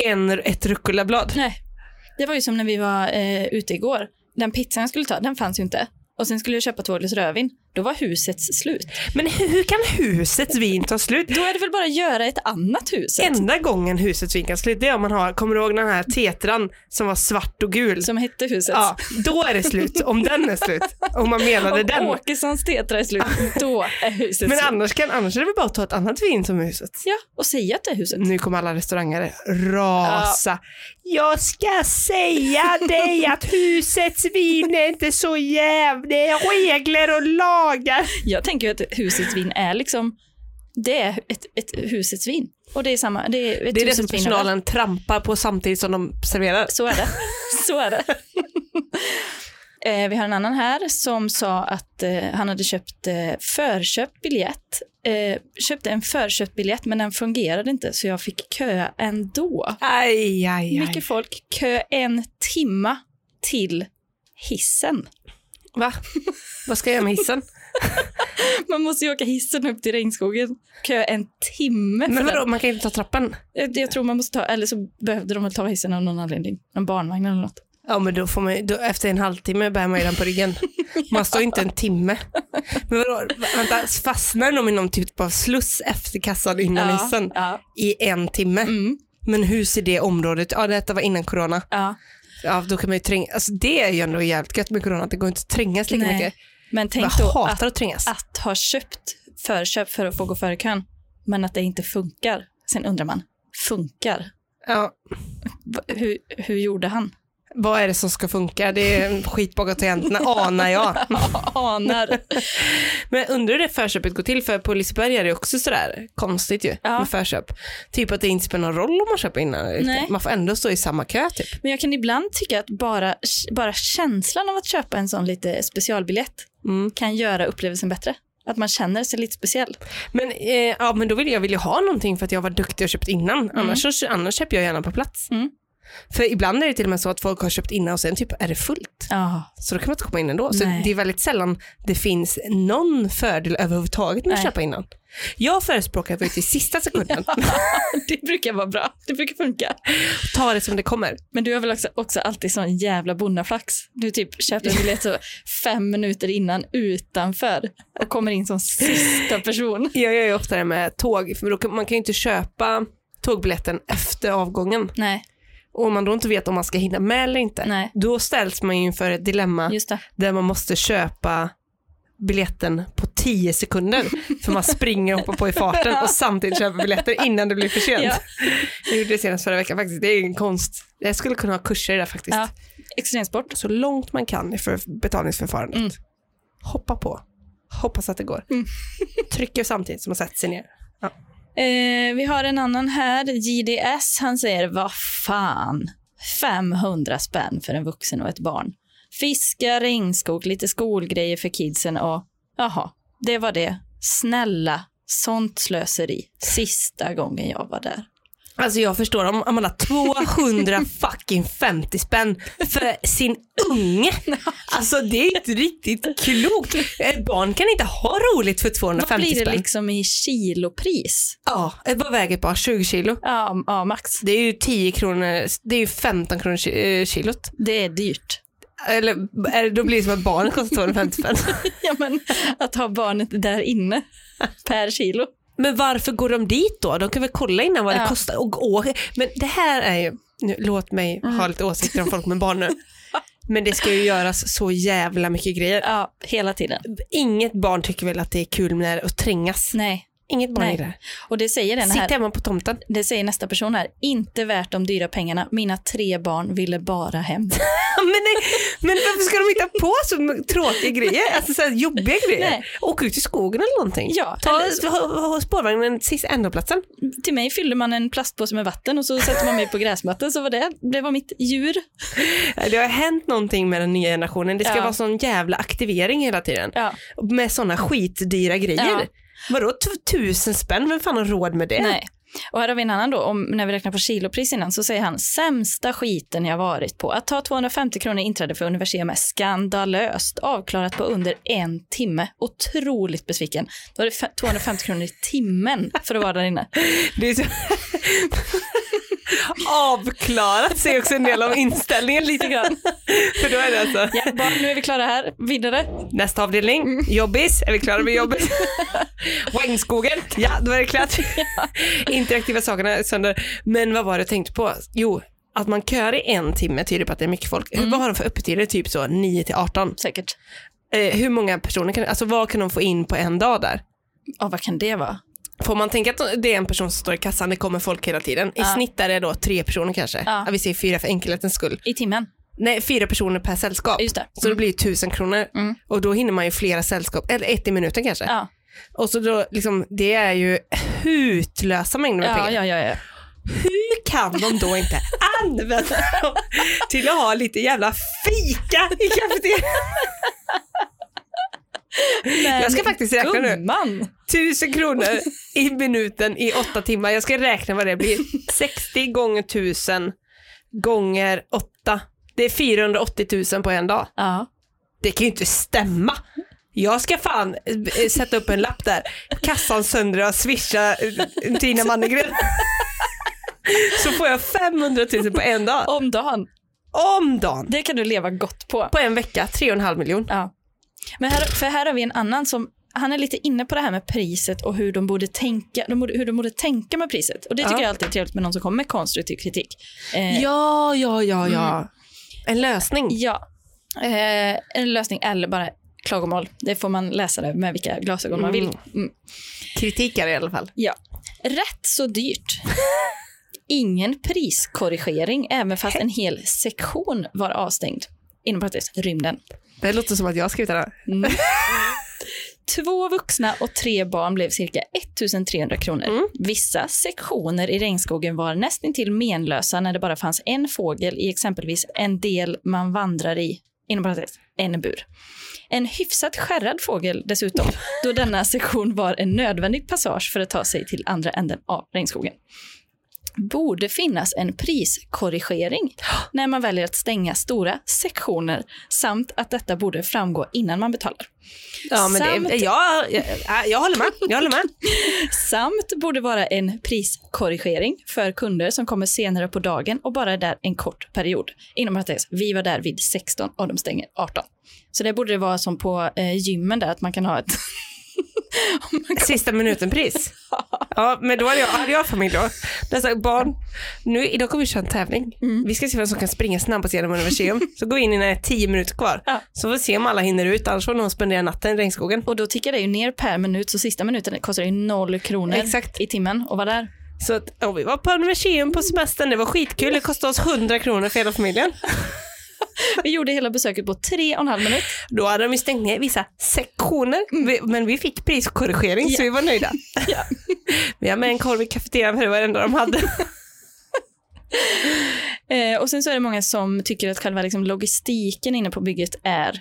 S2: en, ett rucolablad.
S1: Nej. Det var ju som när vi var eh, ute igår. Den pizzan jag skulle ta, den fanns ju inte. Och sen skulle jag köpa två glas rödvin. Då var husets slut.
S2: Men hur, hur kan husets vin ta slut?
S1: Då är det väl bara att göra ett annat hus.
S2: Enda gången husets vin kan ta slut, det är om man har, kommer du ihåg den här tetran som var svart och gul?
S1: Som hette huset.
S2: Ja, då är det slut, om den är slut. Om man menade
S1: Om
S2: den.
S1: Åkessons tetra är slut, då är huset
S2: Men
S1: slut.
S2: annars, kan, annars är det väl bara att ta ett annat vin som huset.
S1: Ja, och säga att det är huset.
S2: Nu kommer alla restauranger rasa. Jag ska säga dig att husets vin är inte så jävligt. Det är regler och lagar.
S1: Jag tänker ju att husets vin är liksom, det är ett, ett husets vin. Och det är samma, det är ett
S2: Det är det
S1: husets
S2: som
S1: vin överallt.
S2: personalen trampar på samtidigt som de serverar.
S1: Så är det. Så är det. eh, vi har en annan här som sa att eh, han hade köpt eh, förköpt biljett. Eh, köpte en förköpt biljett men den fungerade inte så jag fick köa ändå.
S2: Aj, aj,
S1: Mycket folk, kö en timma till hissen.
S2: Va? Vad ska jag göra med hissen?
S1: Man måste ju åka hissen upp till regnskogen. Kö en timme för
S2: Men
S1: den.
S2: vadå, man kan ju inte ta trappan.
S1: Jag, jag tror man måste ta, eller så behövde de väl ta hissen av någon anledning. Någon barnvagn eller något.
S2: Ja men då får man då, efter en halvtimme bär man ju den på ryggen. Man står inte en timme. Men vadå, vänta, fastnar de i någon typ av sluss efter kassan innan hissen?
S1: ja.
S2: I en timme?
S1: Mm,
S2: Men hur ser det området Ja, detta var innan corona.
S1: ja.
S2: Ja, då kan man ju tränga. Alltså, det är ju ändå jävligt gött med corona, att det går inte att trängas lika
S1: Nej.
S2: mycket.
S1: Men
S2: Jag
S1: tänk då att,
S2: hatar att trängas.
S1: att ha köpt förköp för att få gå före kön, men att det inte funkar. Sen undrar man, funkar?
S2: Ja,
S1: Va- Hur, hur gjorde han?
S2: vad är det som ska funka? Det är skit bakom tangenterna, anar jag.
S1: Anar.
S2: Men undrar hur det förköpet går till, för på Liseberg är det också sådär konstigt ju
S1: Ja.
S2: med förköp. Typ att det inte spelar någon roll om man köper innan eller
S1: Nej.
S2: efter. Man får ändå stå i samma kö typ.
S1: Men jag kan ibland tycka att bara, bara känslan av att köpa en sån lite specialbiljett
S2: Mm.
S1: kan göra upplevelsen bättre. Att man känner sig lite speciell.
S2: Men, eh, ja, men då vill jag vill ju ha någonting för att jag var duktig och köpt innan. Annars, så- annars köper jag gärna på plats.
S1: Mm.
S2: För ibland är det till och med så att folk har köpt innan och sen typ är det fullt.
S1: Ja,
S2: Så då kan man inte komma in ändå. Så
S1: Nej.
S2: det är väldigt sällan det finns någon fördel överhuvudtaget med att
S1: Nej.
S2: köpa innan. Jag förespråkar att vara ute i sista sekunden.
S1: det brukar vara bra. Det brukar funka.
S2: Ta det som det kommer.
S1: Men du har väl också, också alltid sån jävla bonnaflax? Du typ köper en biljett så fem minuter innan utanför och kommer in som sista person.
S2: Jag gör ju ofta det med tåg, för då kan, man kan ju inte köpa tågbiljetten efter avgången.
S1: Nej,
S2: Och om man då inte vet om man ska hinna med eller inte,
S1: Nej.
S2: då ställs man ju inför ett dilemma
S1: just det.
S2: där man måste köpa biljetten på 10 sekunder för man springer och hoppar på i farten och samtidigt köper biljetter innan det blir för sent.
S1: Ja.
S2: Jag gjorde det senast förra veckan faktiskt, det är en konst. Jag skulle kunna ha kurser i det faktiskt.
S1: Ja. Extremsport.
S2: Så långt man kan för betalningsförfarandet.
S1: Mm.
S2: Hoppa på, hoppas att det går. Trycker samtidigt som man sätter sig ner.
S1: Eh, vi har en annan här, JDS, han säger vad fan, 500 spänn för en vuxen och ett barn. Fiska, regnskog, lite skolgrejer för kidsen och jaha, det var det. Snälla, sånt slöseri. Sista gången jag var där.
S2: Alltså jag förstår om Amanda 200 fucking 50 spänn för sin unge. Alltså det är inte riktigt klokt. Ett barn kan inte ha roligt för 250
S1: Vad blir det
S2: spänn.
S1: liksom i kilopris?
S2: Ja, eh, vad väger ett barn? 20 kilo.
S1: Ja, ja, max.
S2: Det är ju 10 kronor, det är ju 15 kronor ki- eh, kilot.
S1: Det är dyrt.
S2: Eller eh, då blir det som att barnet kostar 250 spänn.
S1: Ja, men att ha barnet där inne per kilo.
S2: Men varför går de dit då? De kan väl kolla innan vad det
S1: Ja.
S2: kostar och gå. Men det här är ju, nu, låt mig
S1: Mm.
S2: ha lite åsikter om folk med barn nu. Men det ska ju göras så jävla mycket grejer.
S1: Ja, hela tiden.
S2: Inget barn tycker väl att det är kul när det är att trängas.
S1: Nej,
S2: Inget barn
S1: Nej.
S2: gillar.
S1: Och det säger den
S2: Sitt
S1: här,
S2: hemma på tomten.
S1: det säger nästa person här, inte värt de dyra pengarna, mina tre barn ville bara hem.
S2: men, nej, men varför ska de hitta på så tråkiga grejer? Alltså så här jobbiga grejer?
S1: Nej.
S2: Åk ut i skogen eller någonting.
S1: Ja,
S2: Ta
S1: eller så-
S2: ha, ha spårvagnen sist ända platsen.
S1: Till mig fyllde man en plastpåse med vatten och så sätter man mig på gräsmattan, så var det, det var mitt djur.
S2: Det har hänt någonting med den nya generationen. Det ska
S1: Ja.
S2: vara sån jävla aktivering hela tiden.
S1: Ja.
S2: Med såna skitdyra grejer.
S1: Ja.
S2: Vadå t- tusen spänn? Vem fan har råd med det?
S1: Nej. Och här har vi en annan då, om, när vi räknar på kilopris innan, så säger han sämsta skiten jag varit på. Att ta 250 kronor i inträde för universum är skandalöst. Avklarat på under en timme. Otroligt besviken. Då var det fe- 250 kronor i timmen för att vara där inne.
S2: Det är så... Avklarat säger också en del om inställningen lite grann. För då är det alltså.
S1: Ja, Mm. barn, nu är vi klara här. Vidare.
S2: Nästa avdelning, jobbis. Är vi klara med jobbis? Regnskogen, ja då är det klart. Interaktiva sakerna är sönder. Men vad var det jag tänkte på? Jo, att man kör i en timme tyder på att det är mycket folk.
S1: Mm.
S2: Vad har de för öppettider? Typ så 9 till 18.
S1: Säkert.
S2: Eh, hur många personer kan, alltså vad kan de få in på en dag där?
S1: Ja, vad kan det vara?
S2: Får man tänka att det är en person som står i kassan, det kommer folk hela tiden. I
S1: Ja.
S2: snitt är det då tre personer kanske.
S1: Ja.
S2: Ja. Vi säger fyra för enkelhetens skull.
S1: I timmen?
S2: Nej, fyra personer per sällskap.
S1: Just det.
S2: Så det blir ju tusen kronor.
S1: Mm.
S2: Och då hinner man ju flera sällskap, eller ett i minuten kanske.
S1: Ja,
S2: Och så då, liksom, det är ju hutlösa mängder med
S1: ja,
S2: pengar.
S1: ja. ja, ja.
S2: Hur kan de då inte använda dem till att ha lite jävla fika i kafeterian? Jag ska faktiskt räkna nu.
S1: Gumman!
S2: Tusen kronor i minuten i åtta timmar. Jag ska räkna vad det blir. 60 gånger 1000 gånger 8. Det är 480 000 på en dag.
S1: Ja.
S2: Det kan ju inte stämma. Jag ska fan eh, sätta upp en lapp där. Kassan sönder och swisha eh, Tina Mannegren. Så får jag 500 000 på en dag.
S1: Om dagen.
S2: Om dagen.
S1: Det kan du leva gott på.
S2: På en vecka, 3,5 miljon.
S1: Ja. Men här, för här har vi en annan som, han är lite inne på det här med priset och hur de borde tänka, de borde, hur de borde tänka med priset. Och det tycker
S2: Ja.
S1: jag alltid är trevligt med någon som kommer med konstruktiv kritik. Eh,
S2: Ja, ja, ja, ja. Mm. En lösning.
S1: ja. Eh, en lösning eller bara klagomål. Det får man läsa det med vilka glasögon man vill.
S2: Mm.
S1: Mm.
S2: Kritik är det i alla fall.
S1: Ja. Rätt så dyrt. Ingen priskorrigering, även fast en hel sektion var avstängd. Inom parentes, rymden.
S2: Det låter som att jag har skrivit det här.
S1: Två vuxna och tre barn blev cirka 1300 kronor. Vissa sektioner i regnskogen var nästintill menlösa när det bara fanns en fågel i exempelvis en del man vandrar i, inom parentes, en bur. En hyfsat skärrad fågel dessutom, då denna sektion var en nödvändig passage för att ta sig till andra änden av regnskogen. Borde finnas en priskorrigering när man väljer att stänga stora sektioner samt att detta borde framgå innan man betalar.
S2: Ja, men det,
S1: Samt-
S2: jag, äh, jag, jag håller med. Jag håller med.
S1: Samt borde vara en priskorrigering för kunder som kommer senare på dagen och bara är där en kort period. Inom parentes, vi var där vid 16 och de stänger 18. Så det borde det vara som på eh, gymmen där, att man kan ha ett...
S2: Sista minuten-pris. Ja, men då hade jag, hade jag familj då. Dessa barn. Nu, idag kommer vi köra en tävling. Vi ska se vem som kan springa snabbast genom universum. Så går vi in innan det är tio minuter kvar.
S1: Ja.
S2: Så får vi se om alla hinner ut, annars får någon spendera natten i regnskogen.
S1: Och då tickar det ju ner per minut, så sista minuten kostar ju noll kronor
S2: Exakt.
S1: i timmen och var där.
S2: Så att, ja, vi var på universum på semestern, det var skitkul. Det kostade oss 100 kronor för hela familjen.
S1: Vi gjorde hela besöket på tre och en halv minut.
S2: Då hade de ju stängt ner vissa sektioner, vi, men vi fick priskorrigering så vi var nöjda.
S1: Ja.
S2: Vi har med en korv i kafeterian för det var det enda de hade.
S1: Eh, och sen så är det många som tycker att själva liksom, logistiken inne på bygget är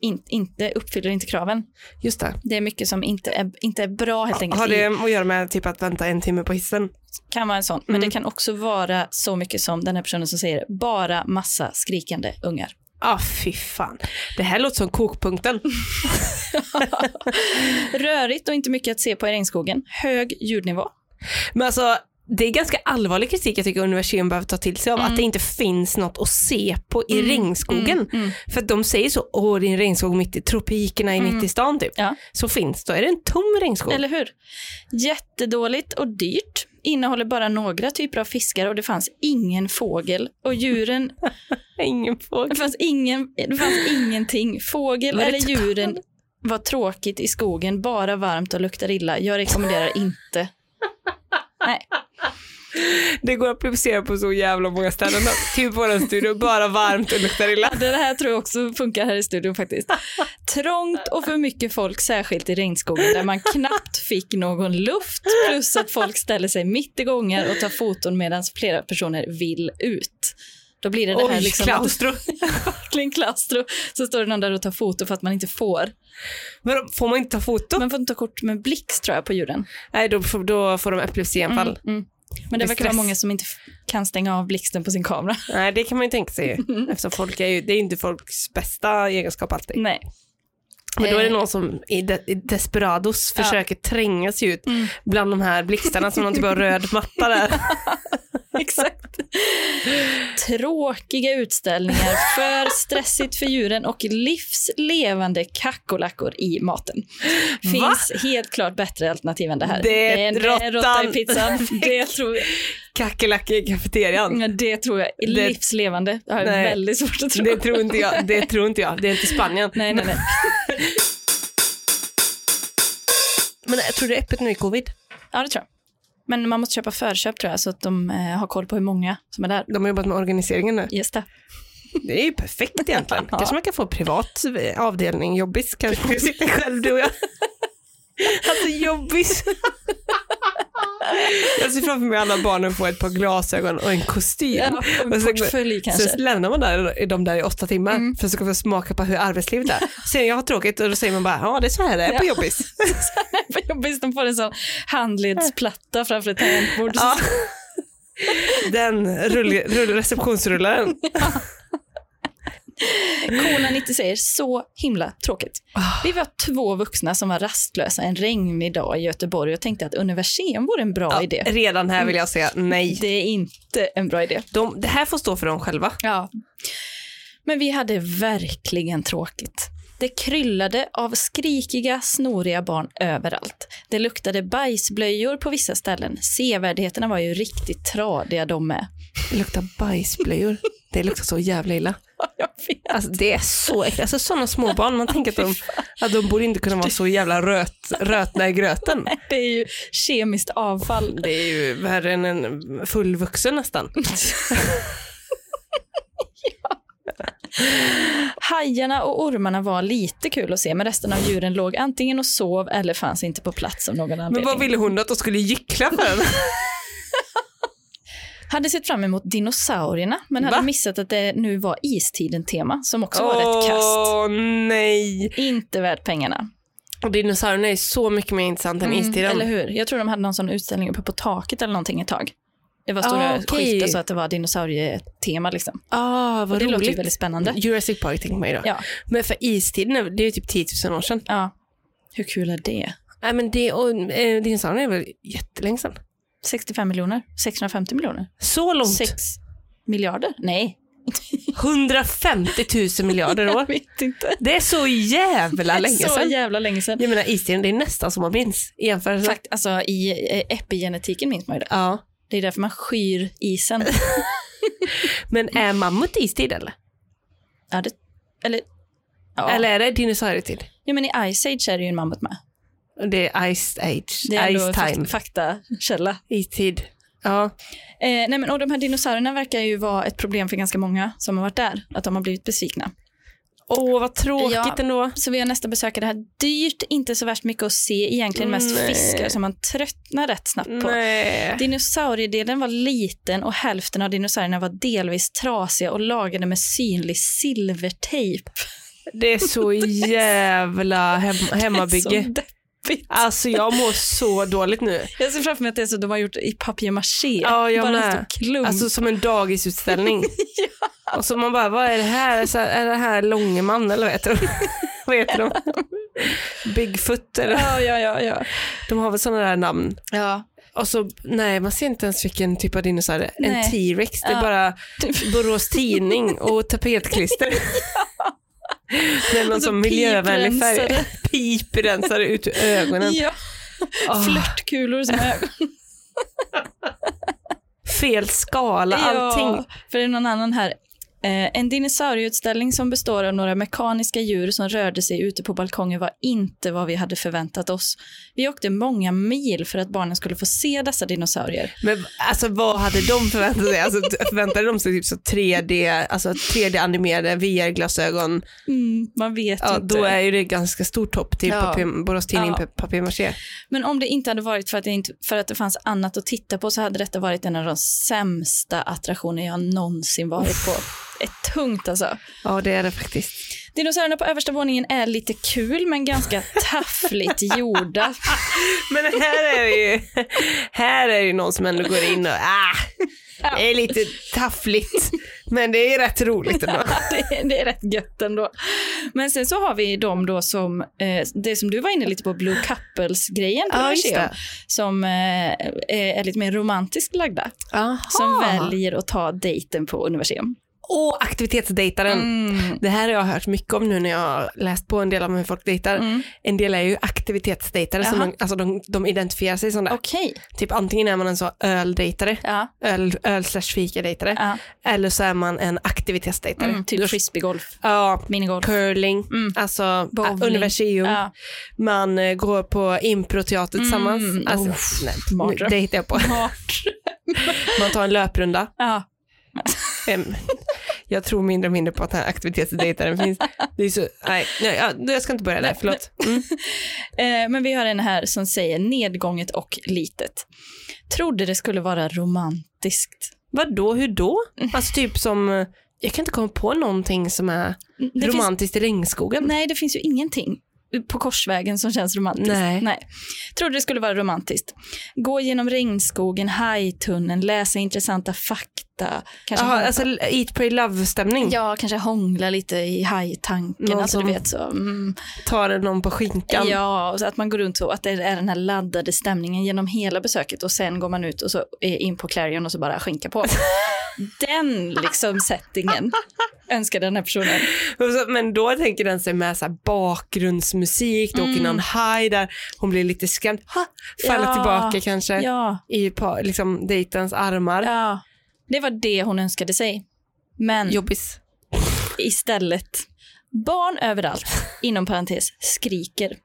S1: in, inte uppfyller inte kraven.
S2: Just det.
S1: Det är mycket som inte är, inte är bra helt enkelt.
S2: Har
S1: i-
S2: det att göra med typ att vänta en timme på hissen?
S1: kan vara en sån. Men det kan också vara så mycket som den här personen som säger bara massa skrikande ungar.
S2: Ja, ah, fy fan. Det här låter som kokpunkten.
S1: Rörigt och inte mycket att se på i regnskogen. Hög ljudnivå.
S2: Men alltså, det är ganska allvarlig kritik jag tycker universum behöver ta till sig av. Att det inte finns något att se på i regnskogen. För att de säger så, åh det är en regnskog mitt i tropikerna, i mitt i stan typ.
S1: Ja.
S2: Så finns, då är det en tom regnskog.
S1: Eller hur? Jättedåligt och dyrt. Innehåller bara några typer av fiskar och det fanns ingen fågel. Och djuren,
S2: Ingen fågel.
S1: det fanns, ingen, det fanns ingenting. Fågel
S2: Var det
S1: eller djuren Vad tråkigt i skogen, bara varmt och luktar illa. Jag rekommenderar inte. Nej.
S2: Det går att publicera på så jävla många ställen. typ våran studio, bara varmt och luktar illa.
S1: Det här tror jag också funkar här i studion faktiskt. Trångt och för mycket folk, särskilt i regnskogen där man knappt fick någon luft. Plus att folk ställer sig mitt i gångar och tar foton medan flera personer vill ut. Då blir det det här
S2: Oj,
S1: liksom
S2: klaustro.
S1: verkligen klaustro. Så står det någon där och tar foto för att man inte får.
S2: Men då får man inte ta foto?
S1: Man får inte ta kort med blixt tror jag på djuren.
S2: Nej, då får, då får de epilepsianfall.
S1: Mm, mm. Men det
S2: Det är
S1: verkar vara
S2: stress.
S1: många som inte f- kan stänga av blixten på sin kamera.
S2: Nej, det kan man ju tänka sig. ju. Eftersom folk är ju, det är ju inte folks bästa egenskap alltid.
S1: Nej.
S2: Men då är det
S1: Eh.
S2: någon som i, de, i desperados
S1: Ja.
S2: försöker tränga sig ut
S1: Mm.
S2: bland de här blixtarna som någon typ av röd matta där.
S1: Exakt. Tråkiga utställningar, för stressigt för djuren och livslevande kackerlackor i maten. Finns helt klart bättre alternativ än det här.
S2: Det är
S1: en
S2: råttan.
S1: råtta i pizzan. Det tror jag,
S2: Kackerlackor i kafeterian.
S1: men det tror jag är
S2: Det-
S1: livslevande. Det har jag
S2: Nej.
S1: väldigt svårt att tro.
S2: Det tror inte jag. Det tror inte jag. Det är inte Spanien.
S1: Nej, nej, nej.
S2: Men jag tror det är öppet nu i covid.
S1: Ja, det tror jag. Men man måste köpa förköp tror jag, så att de eh, har koll på hur många som är där.
S2: De har jobbat med organiseringen nu.
S1: Just det.
S2: Det är ju perfekt egentligen.
S1: Ja.
S2: Kanske man kan få privat avdelning, jobbis kanske. Du sitter själv du och jag. Alltså jobbis. Jag ser framför mig alla barnen få ett par glasögon och en kostym.
S1: Ja,
S2: Och
S1: en
S2: så-
S1: portfölj kanske. Mm.
S2: Så lämnar man där, de där i åtta timmar för att få smaka på hur arbetslivet är. Sen jag har tråkigt och då säger man bara, ja det är så här det är på
S1: Ja.
S2: jobbis.
S1: Vad jobbigt, de får en sån handledsplatta framför ett tangentbord.
S2: Ja. Den rull, rull, receptionsrullaren.
S1: Kona 90 säger, så himla tråkigt. Vi var två vuxna som var rastlösa en regnig dag i Göteborg och tänkte att universum vore en bra idé.
S2: Redan här vill
S1: Mm.
S2: jag säga nej.
S1: Det är inte en bra idé.
S2: De, det här får stå för dem själva.
S1: Ja. Men vi hade verkligen tråkigt. Det kryllade av skrikiga, snoriga barn överallt. Det luktade bajsblöjor på vissa ställen. Sevärdheterna var ju riktigt tradiga de med.
S2: Det luktar bajsblöjor. Det luktar så jävla illa.
S1: Jag vet.
S2: Alltså det är så äckligt. Alltså sådana småbarn, man tänker att de, att de borde inte kunna vara så jävla röt, rötna i gröten.
S1: Det är ju kemiskt avfall.
S2: Det är ju värre än en fullvuxen nästan.
S1: Hajarna och ormarna var lite kul att se, men resten av djuren låg antingen och sov eller fanns inte på plats av någon anledning.
S2: Men vad ville hon att de skulle gyckla för? en?
S1: Hade sett fram emot dinosaurierna, men hade
S2: Va?
S1: missat att det nu var istiden-tema som också var rätt kast.
S2: Åh nej.
S1: Inte värt pengarna. Mm,
S2: Och dinosaurierna är så mycket mer intressant än istiden.
S1: eller hur? Jag tror de hade någon sån utställning uppe på taket eller någonting ett tag. Det var stora
S2: Ah, okej.
S1: skyltar så att det var dinosaurietema liksom.
S2: Ah, vad
S1: Och det
S2: roligt.
S1: låter ju väldigt spännande.
S2: Jurassic Park tänker man ju då.
S1: Ja.
S2: Men för istiden, det är ju typ 10 000 år sedan.
S1: ja. Hur kul är det?
S2: Nej men det, och eh, dinosaurierna är väl jättelänge sedan.
S1: 65 miljoner? 650 miljoner?
S2: Så långt.
S1: 6 miljarder? Nej.
S2: 150 000 miljarder år.
S1: vet inte.
S2: Det är så jävla länge
S1: Så
S2: sedan.
S1: jävla länge sedan.
S2: Jag menar istiden, det är nästan som man minns i jämförelse.
S1: Fakt, alltså, I eh, epigenetiken minns man ju det.
S2: Ja.
S1: Det är därför man skyr isen.
S2: Men är mammut istid eller?
S1: ja, det, eller, ja.
S2: Eller är det dinosaurietid?
S1: ja, men i Ice Age är det ju en mammut med.
S2: Det är ice age,
S1: Det är
S2: ice
S1: ändå
S2: time,
S1: fak- faktakälla.
S2: istid. Ja.
S1: Eh, nej, men, och de här dinosaurierna verkar ju vara ett problem för ganska många som har varit där, att de har blivit besvikna.
S2: Åh vad tråkigt
S1: Ja.
S2: ändå.
S1: Så vi har nästa besökare här. Dyrt, inte så värst mycket att se egentligen, mest
S2: Nej.
S1: fiskar som man tröttnar rätt snabbt på.
S2: Nej.
S1: Dinosauriedelen var liten och hälften av dinosaurierna var delvis trasiga och lagade med synlig silvertejp.
S2: Det är så jävla hem,
S1: Så
S2: hemmabygge.
S1: deppigt.
S2: Alltså jag mår så dåligt nu.
S1: Jag ser framför mig att det är så de har gjort i papier-maché.
S2: Ja, jag
S1: Bara en
S2: med.
S1: stor klump.
S2: Alltså som en dagisutställning. Och så man bara, vad är det här? Så här är det här Långeman eller vad heter de? vad heter de? Bigfoot eller?
S1: ja, ja, ja, ja.
S2: De har väl sådana där namn.
S1: ja.
S2: Och så, nej man ser inte ens vilken typ av dinosaurie.
S1: Nej.
S2: En T-rex, det är
S1: Ja.
S2: bara Borås Tidning och tapetklister. Med någon
S1: Och så
S2: sån miljövänlig färg.
S1: piprensare.
S2: Piprensare ut ur ögonen.
S1: ja.
S2: Åh,
S1: Flörtkulor som är
S2: fel skala, allting.
S1: För det är någon annan här. Eh, en dinosaurieutställning som består av några mekaniska djur som rörde sig ute på balkongen var inte vad vi hade förväntat oss. Vi åkte många mil för att barnen skulle få se dessa dinosaurier.
S2: Men alltså vad hade de förväntat sig? Alltså, förväntade de sig typ så 3D, alltså 3D-animerade VR-glasögon?
S1: Mm, man vet
S2: Ja,
S1: inte.
S2: då är ju det ganska stort hopp till
S1: Ja.
S2: papier, Borås Tidning
S1: Ja.
S2: ja. papier-maché.
S1: Men om det inte hade varit för att det, inte, för att det fanns annat att titta på så hade detta varit en av de sämsta attraktioner jag någonsin varit på. Ett tungt alltså.
S2: Ja, det är det faktiskt.
S1: Dinosaurierna på översta våningen är lite kul men ganska taffligt gjorda.
S2: Men här är det ju, här är det ju någon som ändå går in och ah, det är lite taffligt. Men det är rätt roligt ändå.
S1: det, det är rätt gött ändå. Men sen så har vi de då som, eh, det som du var inne lite på, Blue Couples-grejen på
S2: Ja, just
S1: museum,
S2: det.
S1: som eh, är lite mer romantiskt lagda, som väljer att ta dejten på universium.
S2: Och aktivitetsdejtaren.
S1: Mm.
S2: Det här har jag hört mycket om nu när jag har läst på en del om hur folk dejtar.
S1: Mm.
S2: En del är ju aktivitetsdejtare, som
S1: Jaha.
S2: de, alltså de, de identifierar sig som det.
S1: Okej.
S2: Typ antingen är man en så öldejtare,
S1: Ja,
S2: öl, öl slash fikadejtare,
S1: ja.
S2: eller så är man en aktivitetsdejtare.
S1: Mm,
S2: Då-
S1: typ frisbeegolf,
S2: ja,
S1: minigolf.
S2: curling,
S1: Mm.
S2: alltså
S1: Bowling.
S2: Bowling. universium.
S1: Ja.
S2: Man eh, går på improteater tillsammans.
S1: Mm,
S2: Alltså,
S1: uff,
S2: nej,
S1: mardröm.
S2: nu, det hittar jag på. Man tar en löprunda.
S1: Ja.
S2: Em, Jag tror mindre och mindre på att den här aktivitetsdejtaren finns. Det är så, nej, nej, ja, jag ska inte börja där, förlåt. Mm.
S1: Eh, Men vi har en här som säger nedgånget och litet. Trodde det skulle vara romantiskt.
S2: Vadå, hur då? Alltså typ som, eh, jag kan inte komma på någonting som är
S1: Det finns
S2: romantiskt i regnskogen.
S1: Nej, det finns ju ingenting på korsvägen som känns romantiskt.
S2: Nej.
S1: Trodde det skulle vara romantiskt. Gå genom regnskogen, hajtunneln, läsa intressanta fakta. Kanske
S2: Jaha,
S1: hångla,
S2: alltså eat, pray, love-stämning.
S1: ja, kanske hångla lite i hajtanken.
S2: Någon
S1: Alltså, du
S2: som-
S1: vet, så, mm,
S2: Tar någon på skinkan.
S1: ja, och så att man går runt så, att det är den här laddade stämningen genom hela besöket och sen går man ut och så eh, in på Clarion och så bara skinka på. den liksom settingen önskar den här personen.
S2: Och så- Men då tänker den sig med så här bakgrundsmusik, det åker någon haj där, hon blir lite skrämd, ha, faller
S1: Mm. Ja.
S2: tillbaka kanske
S1: Ja,
S2: i par, liksom, dejtens armar.
S1: ja. Det var det hon önskade sig.
S2: Mm.
S1: Men
S2: Jobbis.
S1: istället. Barn överallt, inom parentes, skriker.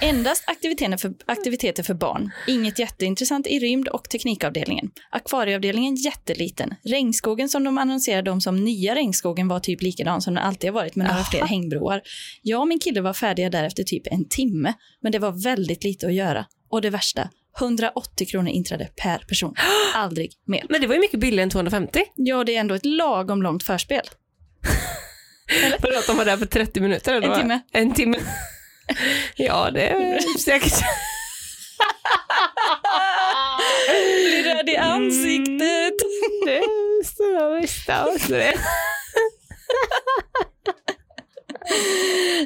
S1: Endast aktiviteter för, aktiviteter för barn. Inget jätteintressant i rymd och teknikavdelningen. Akvarieavdelningen jätteliten. Regnskogen som de annonserade om som nya regnskogen var typ likadan som den alltid har varit med några
S2: Aha.
S1: fler hängbroar. Jag och min kille var färdiga där efter typ en timme, men det var väldigt lite att göra. Och det värsta, 180 kronor inträde per person. Aldrig mer.
S2: Men det var ju mycket billigare än 250.
S1: Ja, det är ändå ett lagom långt förspel.
S2: Vadå att de var där för 30 minuter? Eller
S1: En
S2: vad?
S1: timme.
S2: En timme. ja, det är säkert.
S1: Blir röd i ansiktet.
S2: Det är så värsta. också det.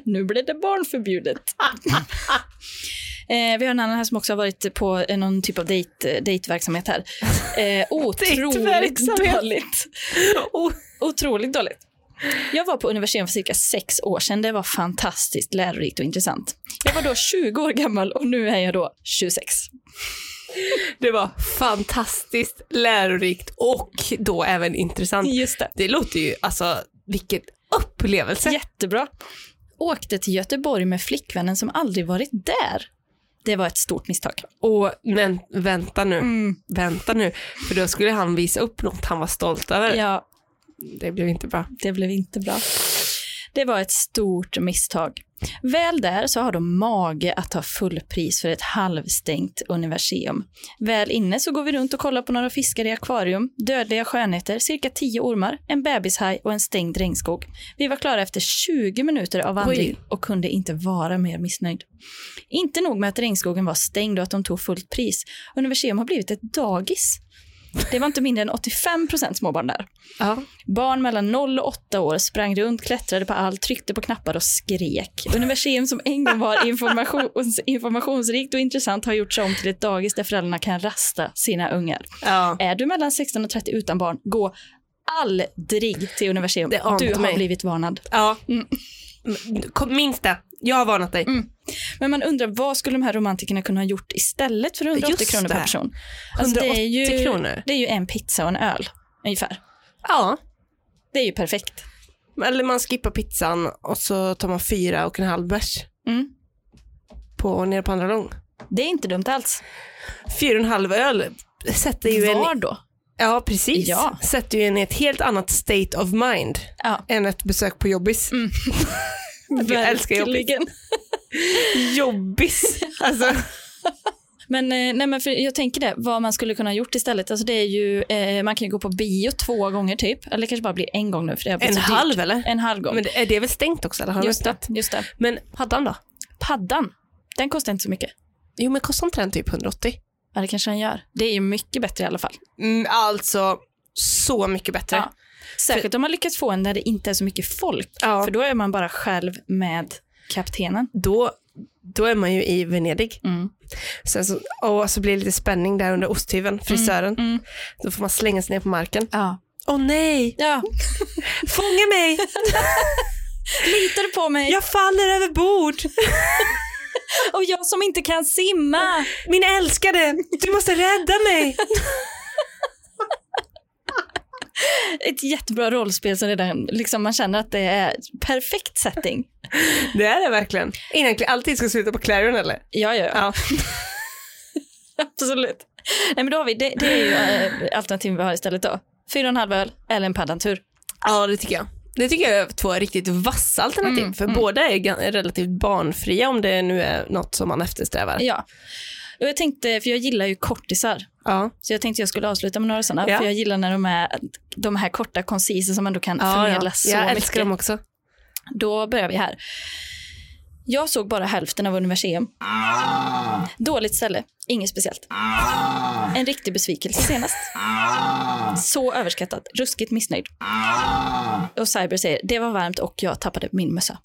S1: Nu blir det barnförbjudet. Eh, vi har en annan här som också har varit på eh, någon typ av dejt- dejtverksamhet här. Eh, otroligt
S2: Dejtverksamhet.
S1: dåligt.
S2: Oh,
S1: Otroligt dåligt. Jag var på universitet för cirka sex år sedan. Det var fantastiskt lärorikt och intressant. Jag var då 20 år gammal och nu är jag då 26.
S2: det var fantastiskt lärorikt och då även intressant.
S1: Just det.
S2: Det låter ju, alltså vilken upplevelse.
S1: Jättebra. Åkte till Göteborg med flickvännen som aldrig varit där. Det var ett stort misstag.
S2: Och men vänta nu,
S1: Mm.
S2: vänta nu, för då skulle han visa upp något han var stolt över.
S1: Ja,
S2: Det blev inte bra.
S1: Det blev inte bra. Det var ett stort misstag. Väl där så har de mage att ta fullpris för ett halvstängt universum. Väl inne så går vi runt och kollar på några fiskar i akvarium, dödliga skönheter, cirka 10 ormar, en bebishaj och en stängd regnskog. Vi var klara efter 20 minuter av vandring
S2: Oj.
S1: och kunde inte vara mer missnöjd. Inte nog med att regnskogen var stängd och att de tog fullt pris. Universum har blivit ett dagis. Det var inte mindre än 85 procent småbarn där.
S2: Ja.
S1: Barn mellan 0 och 8 år sprang runt, klättrade på allt, tryckte på knappar och skrek. Universum som en gång var informations, informationsrikt och intressant har gjorts om till ett dagis där föräldrarna kan rasta sina ungar.
S2: ja.
S1: Är du mellan 16 och 30 utan barn, gå aldrig till Universum.
S2: Det ante
S1: Du har
S2: mig.
S1: blivit varnad.
S2: ja.
S1: Mm.
S2: Kom, Minns det, jag har varnat dig.
S1: Men man undrar, vad skulle de här romantikerna kunna ha gjort istället för 180
S2: Just
S1: kronor per
S2: det.
S1: person? Alltså,
S2: 180
S1: det är ju,
S2: kronor.
S1: Det är ju en pizza och en öl, ungefär.
S2: Ja.
S1: Det är ju perfekt.
S2: Eller man skippar pizzan och så tar man fyra och en halv bärs
S1: Mm.
S2: på, nere på andra lång.
S1: Det är inte dumt alls.
S2: Fyra och en halv öl sätter ju en...
S1: Var då?
S2: Ja, precis.
S1: Ja.
S2: Sätter ju en i ett helt annat state of mind
S1: Ja.
S2: än ett besök på Jobbis.
S1: Mm.
S2: Jag älskar Jobbis.
S1: Verkligen.
S2: Jobbis! Alltså,
S1: Men, eh, nej, men för jag tänker det, vad man skulle kunna ha gjort istället. Alltså det är ju, eh, man kan ju gå på bio två gånger typ, eller det kanske bara blir en gång nu för det har blivit
S2: en
S1: så dyrt.
S2: halv eller?
S1: En halv gång.
S2: Men det- är det väl stängt också? Eller? Har de
S1: just, det,
S2: öppnat?
S1: just det.
S2: Men paddan då?
S1: Paddan, den kostar inte så mycket.
S2: Jo, men kostar inte den typ 180?
S1: Ja, det kanske den gör. Det är ju mycket bättre i alla fall.
S2: Mm, alltså, så mycket bättre.
S1: Ja. Särskilt om man lyckats få en där det inte är så mycket folk.
S2: Ja.
S1: För då är man bara själv med kaptenen.
S2: Då, då är man ju i Venedig.
S1: Mm.
S2: Sen så, och så blir det lite spänning där under osthyveln, frisören.
S1: mm.
S2: Då får man slänga sig ner på marken.
S1: Ja.
S2: Åh nej,
S1: ja.
S2: fånga mig!
S1: Litar du på mig?
S2: Jag faller över bord!
S1: Och jag som inte kan simma.
S2: Min älskade, du måste rädda mig!
S1: Ett jättebra rollspel som redan, liksom man känner att det är perfekt setting.
S2: Det är det verkligen. Innan alltid ska sluta på Clarion eller?
S1: Ja, ja, ja.
S2: Ja.
S1: Absolut. Nej, men då har vi, det, det är ju eh, alternativet vi har istället då. Fyra och en halv öl eller en paddantur.
S2: Ja, det tycker jag. Det tycker jag är två riktigt vassa alternativ,
S1: Mm,
S2: för
S1: mm.
S2: båda är gan- relativt barnfria om det nu är något som man eftersträvar.
S1: Ja. Och jag tänkte, för jag gillar ju kortisar.
S2: Ja.
S1: Så jag tänkte jag skulle avsluta med några sådana,
S2: Ja.
S1: för jag gillar när de är de här korta, koncisa som ändå kan
S2: Ja,
S1: förmedla
S2: ja.
S1: så
S2: Jag
S1: mycket.
S2: älskar dem också.
S1: Då börjar vi här. Jag såg bara hälften av Universum. Dåligt ställe, inget speciellt. En riktig besvikelse senast. Så överskattad, ruskigt missnöjd. Och Cyber säger, det var varmt och jag tappade min mössa.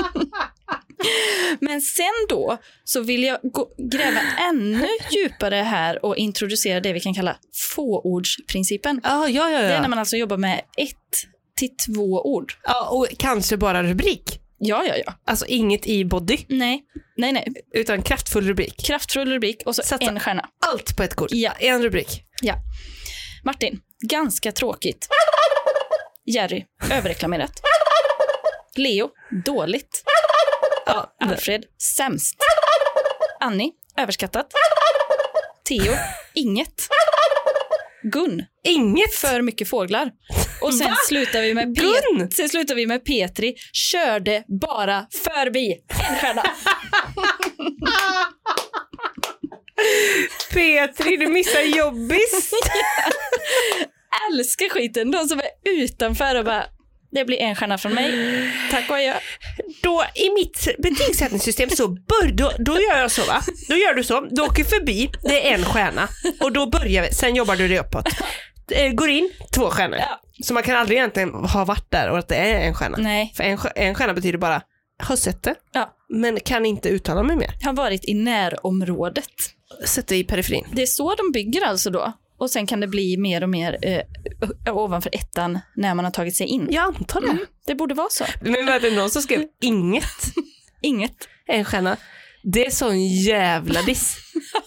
S1: Men sen då så vill jag gå, gräva ännu djupare här och introducera det vi kan kalla fåordsprincipen.
S2: Ja, ja, ja.
S1: Det är
S2: ja.
S1: när man alltså jobbar med ett till två ord.
S2: ja och kanske bara rubrik.
S1: Ja, ja, ja.
S2: Alltså inget i body,
S1: Nej, nej, nej.
S2: utan kraftfull rubrik.
S1: Kraftfull rubrik och så
S2: Satsa.
S1: en stjärna.
S2: Allt på ett kort.
S1: Ja.
S2: En rubrik.
S1: Ja. Martin, ganska tråkigt. Jerry, överreklamerat. Leo, dåligt.
S2: Ja,
S1: Alfred, sämst. Annie, överskattat. Theo, inget. Gun,
S2: Inget
S1: för mycket fåglar. Och sen
S2: Va?
S1: slutar vi med
S2: Gun!
S1: Pet- sen slutar vi med Petri, körde bara förbi. En stjärna.
S2: Petri, du missar jobbis.
S1: älskar skiten. De som är utanför och bara, det blir en stjärna från mig. Tack och adjö.
S2: Då i mitt betygssättningssystem så bör, då, då gör jag så va? Då gör du så, du åker förbi, det är en stjärna och då börjar vi, sen jobbar du dig uppåt. Eh, Går in, två stjärnor.
S1: Ja.
S2: Så man kan aldrig egentligen ha varit där och att det är en stjärna.
S1: Nej,
S2: För en, stjär- en stjärna betyder bara, har sett det,
S1: Ja.
S2: men kan inte uttala mig mer.
S1: har varit i närområdet.
S2: Sätter i periferin.
S1: Det är så de bygger alltså då. Och sen kan det bli mer och mer eh, ö- ovanför ettan när man har tagit sig in.
S2: Jag antar det.
S1: Det borde vara så.
S2: Men var det någon som skrev inget?
S1: Inget.
S2: en stjärna. Det är sån jävla diss.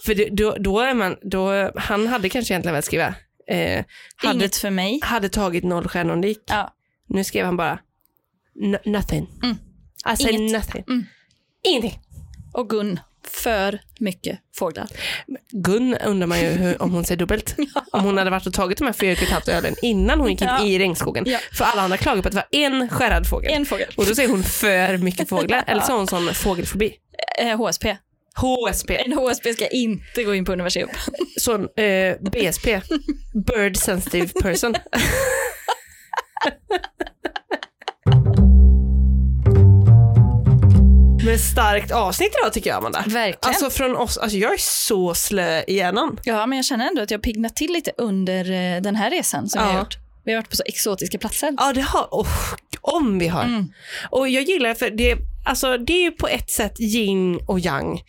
S2: För det, då, då är man, då, han hade kanske egentligen velat skriva, eh, hade,
S1: Inget för mig.
S2: hade tagit noll stjärnor om det gick.
S1: Ja.
S2: Nu skrev han bara, "No- nothing.
S1: Mm.
S2: I said
S1: Inget.
S2: nothing.
S1: Mm.
S2: Ingenting.
S1: Och Gun, för mycket fåglar.
S2: Gun undrar man ju hur, om hon ser dubbelt. Om hon hade varit och tagit de här fyra och ett halvt ölen innan hon gick in
S1: Ja.
S2: i regnskogen.
S1: Ja.
S2: För alla andra klagar på att det var en skärrad fågel.
S1: En fågel.
S2: Och då säger hon för mycket fåglar. Eller så har hon sån fågelfobi.
S1: Eh, HSP.
S2: HSP.
S1: En HSP ska inte gå in på universum.
S2: sån eh, BSP, Bird Sensitive Person. Men starkt avsnitt idag tycker jag Amanda.
S1: Verkligen.
S2: Alltså från oss, alltså jag är så slö i hjärnan.
S1: Ja, men jag känner ändå att jag piggnat till lite under eh, den här resan som vi
S2: Ja.
S1: har gjort. Vi har varit på så exotiska platser.
S2: Ja det har, oh, om vi har. Och jag gillar för det, alltså det är ju på ett sätt yin och yang.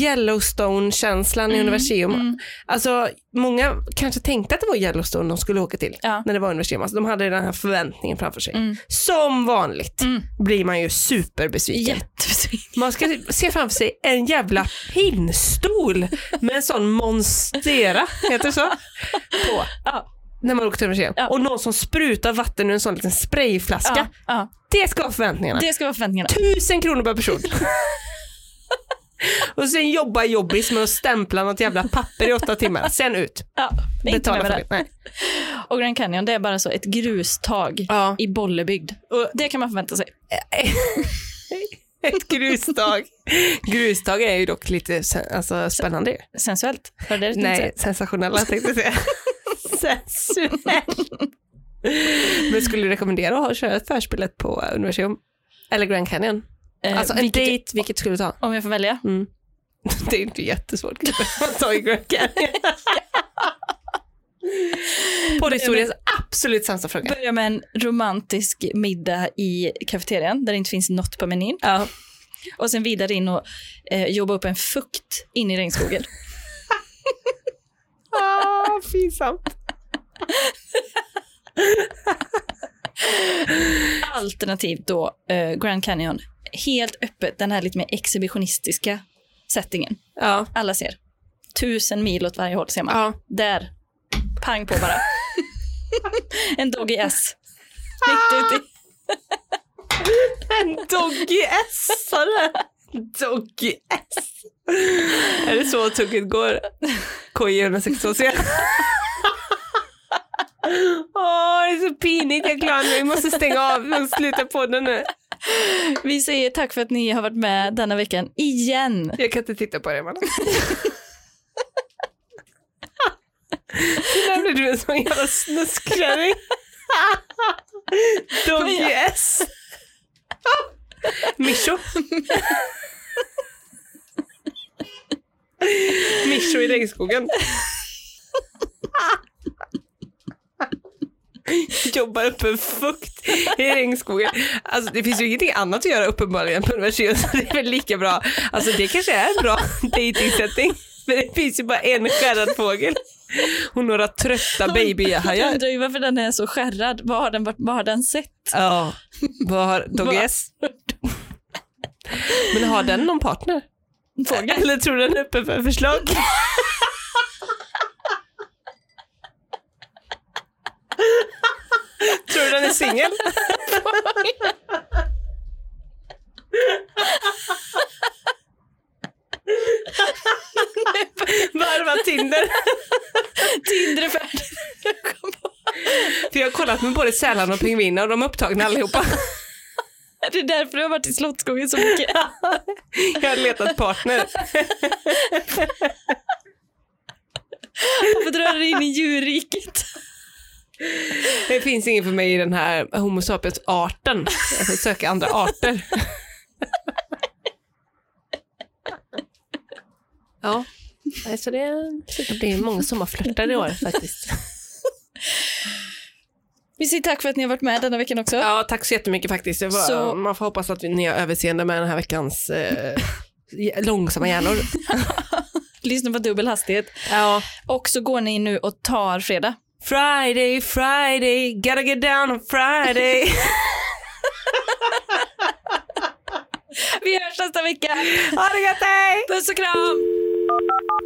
S2: Yellowstone-känslan i universum. Alltså många kanske tänkte att det var Yellowstone de skulle åka till
S1: Ja.
S2: när det var universum. Alltså, de hade den här förväntningen framför sig. Som vanligt blir man ju superbesviken.
S1: Jättebesviken.
S2: Man ska se framför sig en jävla pinnstol med en sån monstera, heter det så? På.
S1: Ja.
S2: När man åker till museum.
S1: Ja.
S2: Och någon som sprutar vatten ur en sån liten sprayflaska.
S1: Ja, ja,
S2: Det ska vara förväntningarna.
S1: det ska vara förväntningarna.
S2: Tusen kronor per person. och sen jobba jobbis med att stämpla något jävla papper i åtta timmar. Sen ut.
S1: Ja, det är inte
S2: Betala
S1: med
S2: för
S1: det.
S2: det. Nej.
S1: Och Grand Canyon, det är bara så ett grustag
S2: Ja.
S1: i Bollebygd.
S2: Och-
S1: Det kan man förvänta sig.
S2: Ett grustag. grustag är ju dock lite sen- alltså, spännande. ju.
S1: Sensuellt. Var det det du
S2: Nej,
S1: tänkte
S2: sensationella tänkte jag säga. Sensuell. Men skulle du rekommendera att ha- köra ett förspillet på eh, Universium? Eller Grand Canyon?
S1: säga? Eh,
S2: Alltså en
S1: vilket-
S2: dejt, vilket skulle du ta?
S1: Om jag får välja?
S2: Det är inte jättesvårt kanske att ta i Grand Canyon. Poddhistoriens absolut sämsta fråga.
S1: Börja med en romantisk middag i kafeterian där det inte finns något på menyn.
S2: Ja.
S1: Och sen vidare in och eh, jobba upp en fukt in i regnskogen.
S2: Ah, pinsamt.
S1: Alternativt då eh, Grand Canyon. Helt öppet, den här lite mer exhibitionistiska settingen.
S2: Ja.
S1: Alla ser. Tusen mil åt varje håll ser man.
S2: ja.
S1: Där. Pang på bara. en doggy S.
S2: Ah!
S1: Mitt ute i.
S2: En doggy S Doggy S. Är det så tugget går? KJ 162 Åh, det är så pinigt. Jag klarar mig. Vi måste stänga av. Vi måste sluta podden nu.
S1: Vi säger tack för att ni har varit med denna veckan igen.
S2: Jag kan inte titta på det, man. Där blev du en sån jävla snuskkärring. Doggy S. Mischo. Mischo i regnskogen. Jobbar uppe i fukt i regnskogen. Alltså, det finns ju ingenting annat att göra uppenbarligen på universitetet så det är väl lika bra. Alltså det kanske är en bra dejtingsättning. Men det finns ju bara en skärrad fågel och några trötta
S1: Jag
S2: babyhajar.
S1: undrar ju varför den är så skärrad. Vad har den, varit- vad har den sett?
S2: Ja, vad har Doggy
S1: Va?
S2: S? Men har den någon partner?
S1: Fågel?
S2: Eller tror den är öppen för förslag? tror du den är singel? Varva Tinder.
S1: Tinder är färdig. Jag kom på-
S2: För jag har kollat med både sälarna och pingvinerna och de är upptagna allihopa.
S1: Det är därför du har varit i Slottsskogen så mycket.
S2: Jag har letat partner.
S1: Varför drar du in i djurriket?
S2: Det finns ingen för mig i den här Homo sapiens-arten. Jag får söka andra arter. ja, så det, så det blir många sommarflörtar i år faktiskt.
S1: Vi säger tack för att ni har varit med denna veckan också.
S2: Ja, tack så jättemycket faktiskt. Det var,
S1: Så-
S2: Man får hoppas att ni har överseende med den här veckans eh, långsamma hjärnor.
S1: Lyssna på dubbel hastighet.
S2: Ja.
S1: Och så går ni nu och tar fredag.
S2: Friday, Friday, gotta get down on Friday.
S1: Vi hörs nästa vecka.
S2: ha det gött, hej!
S1: Puss och kram!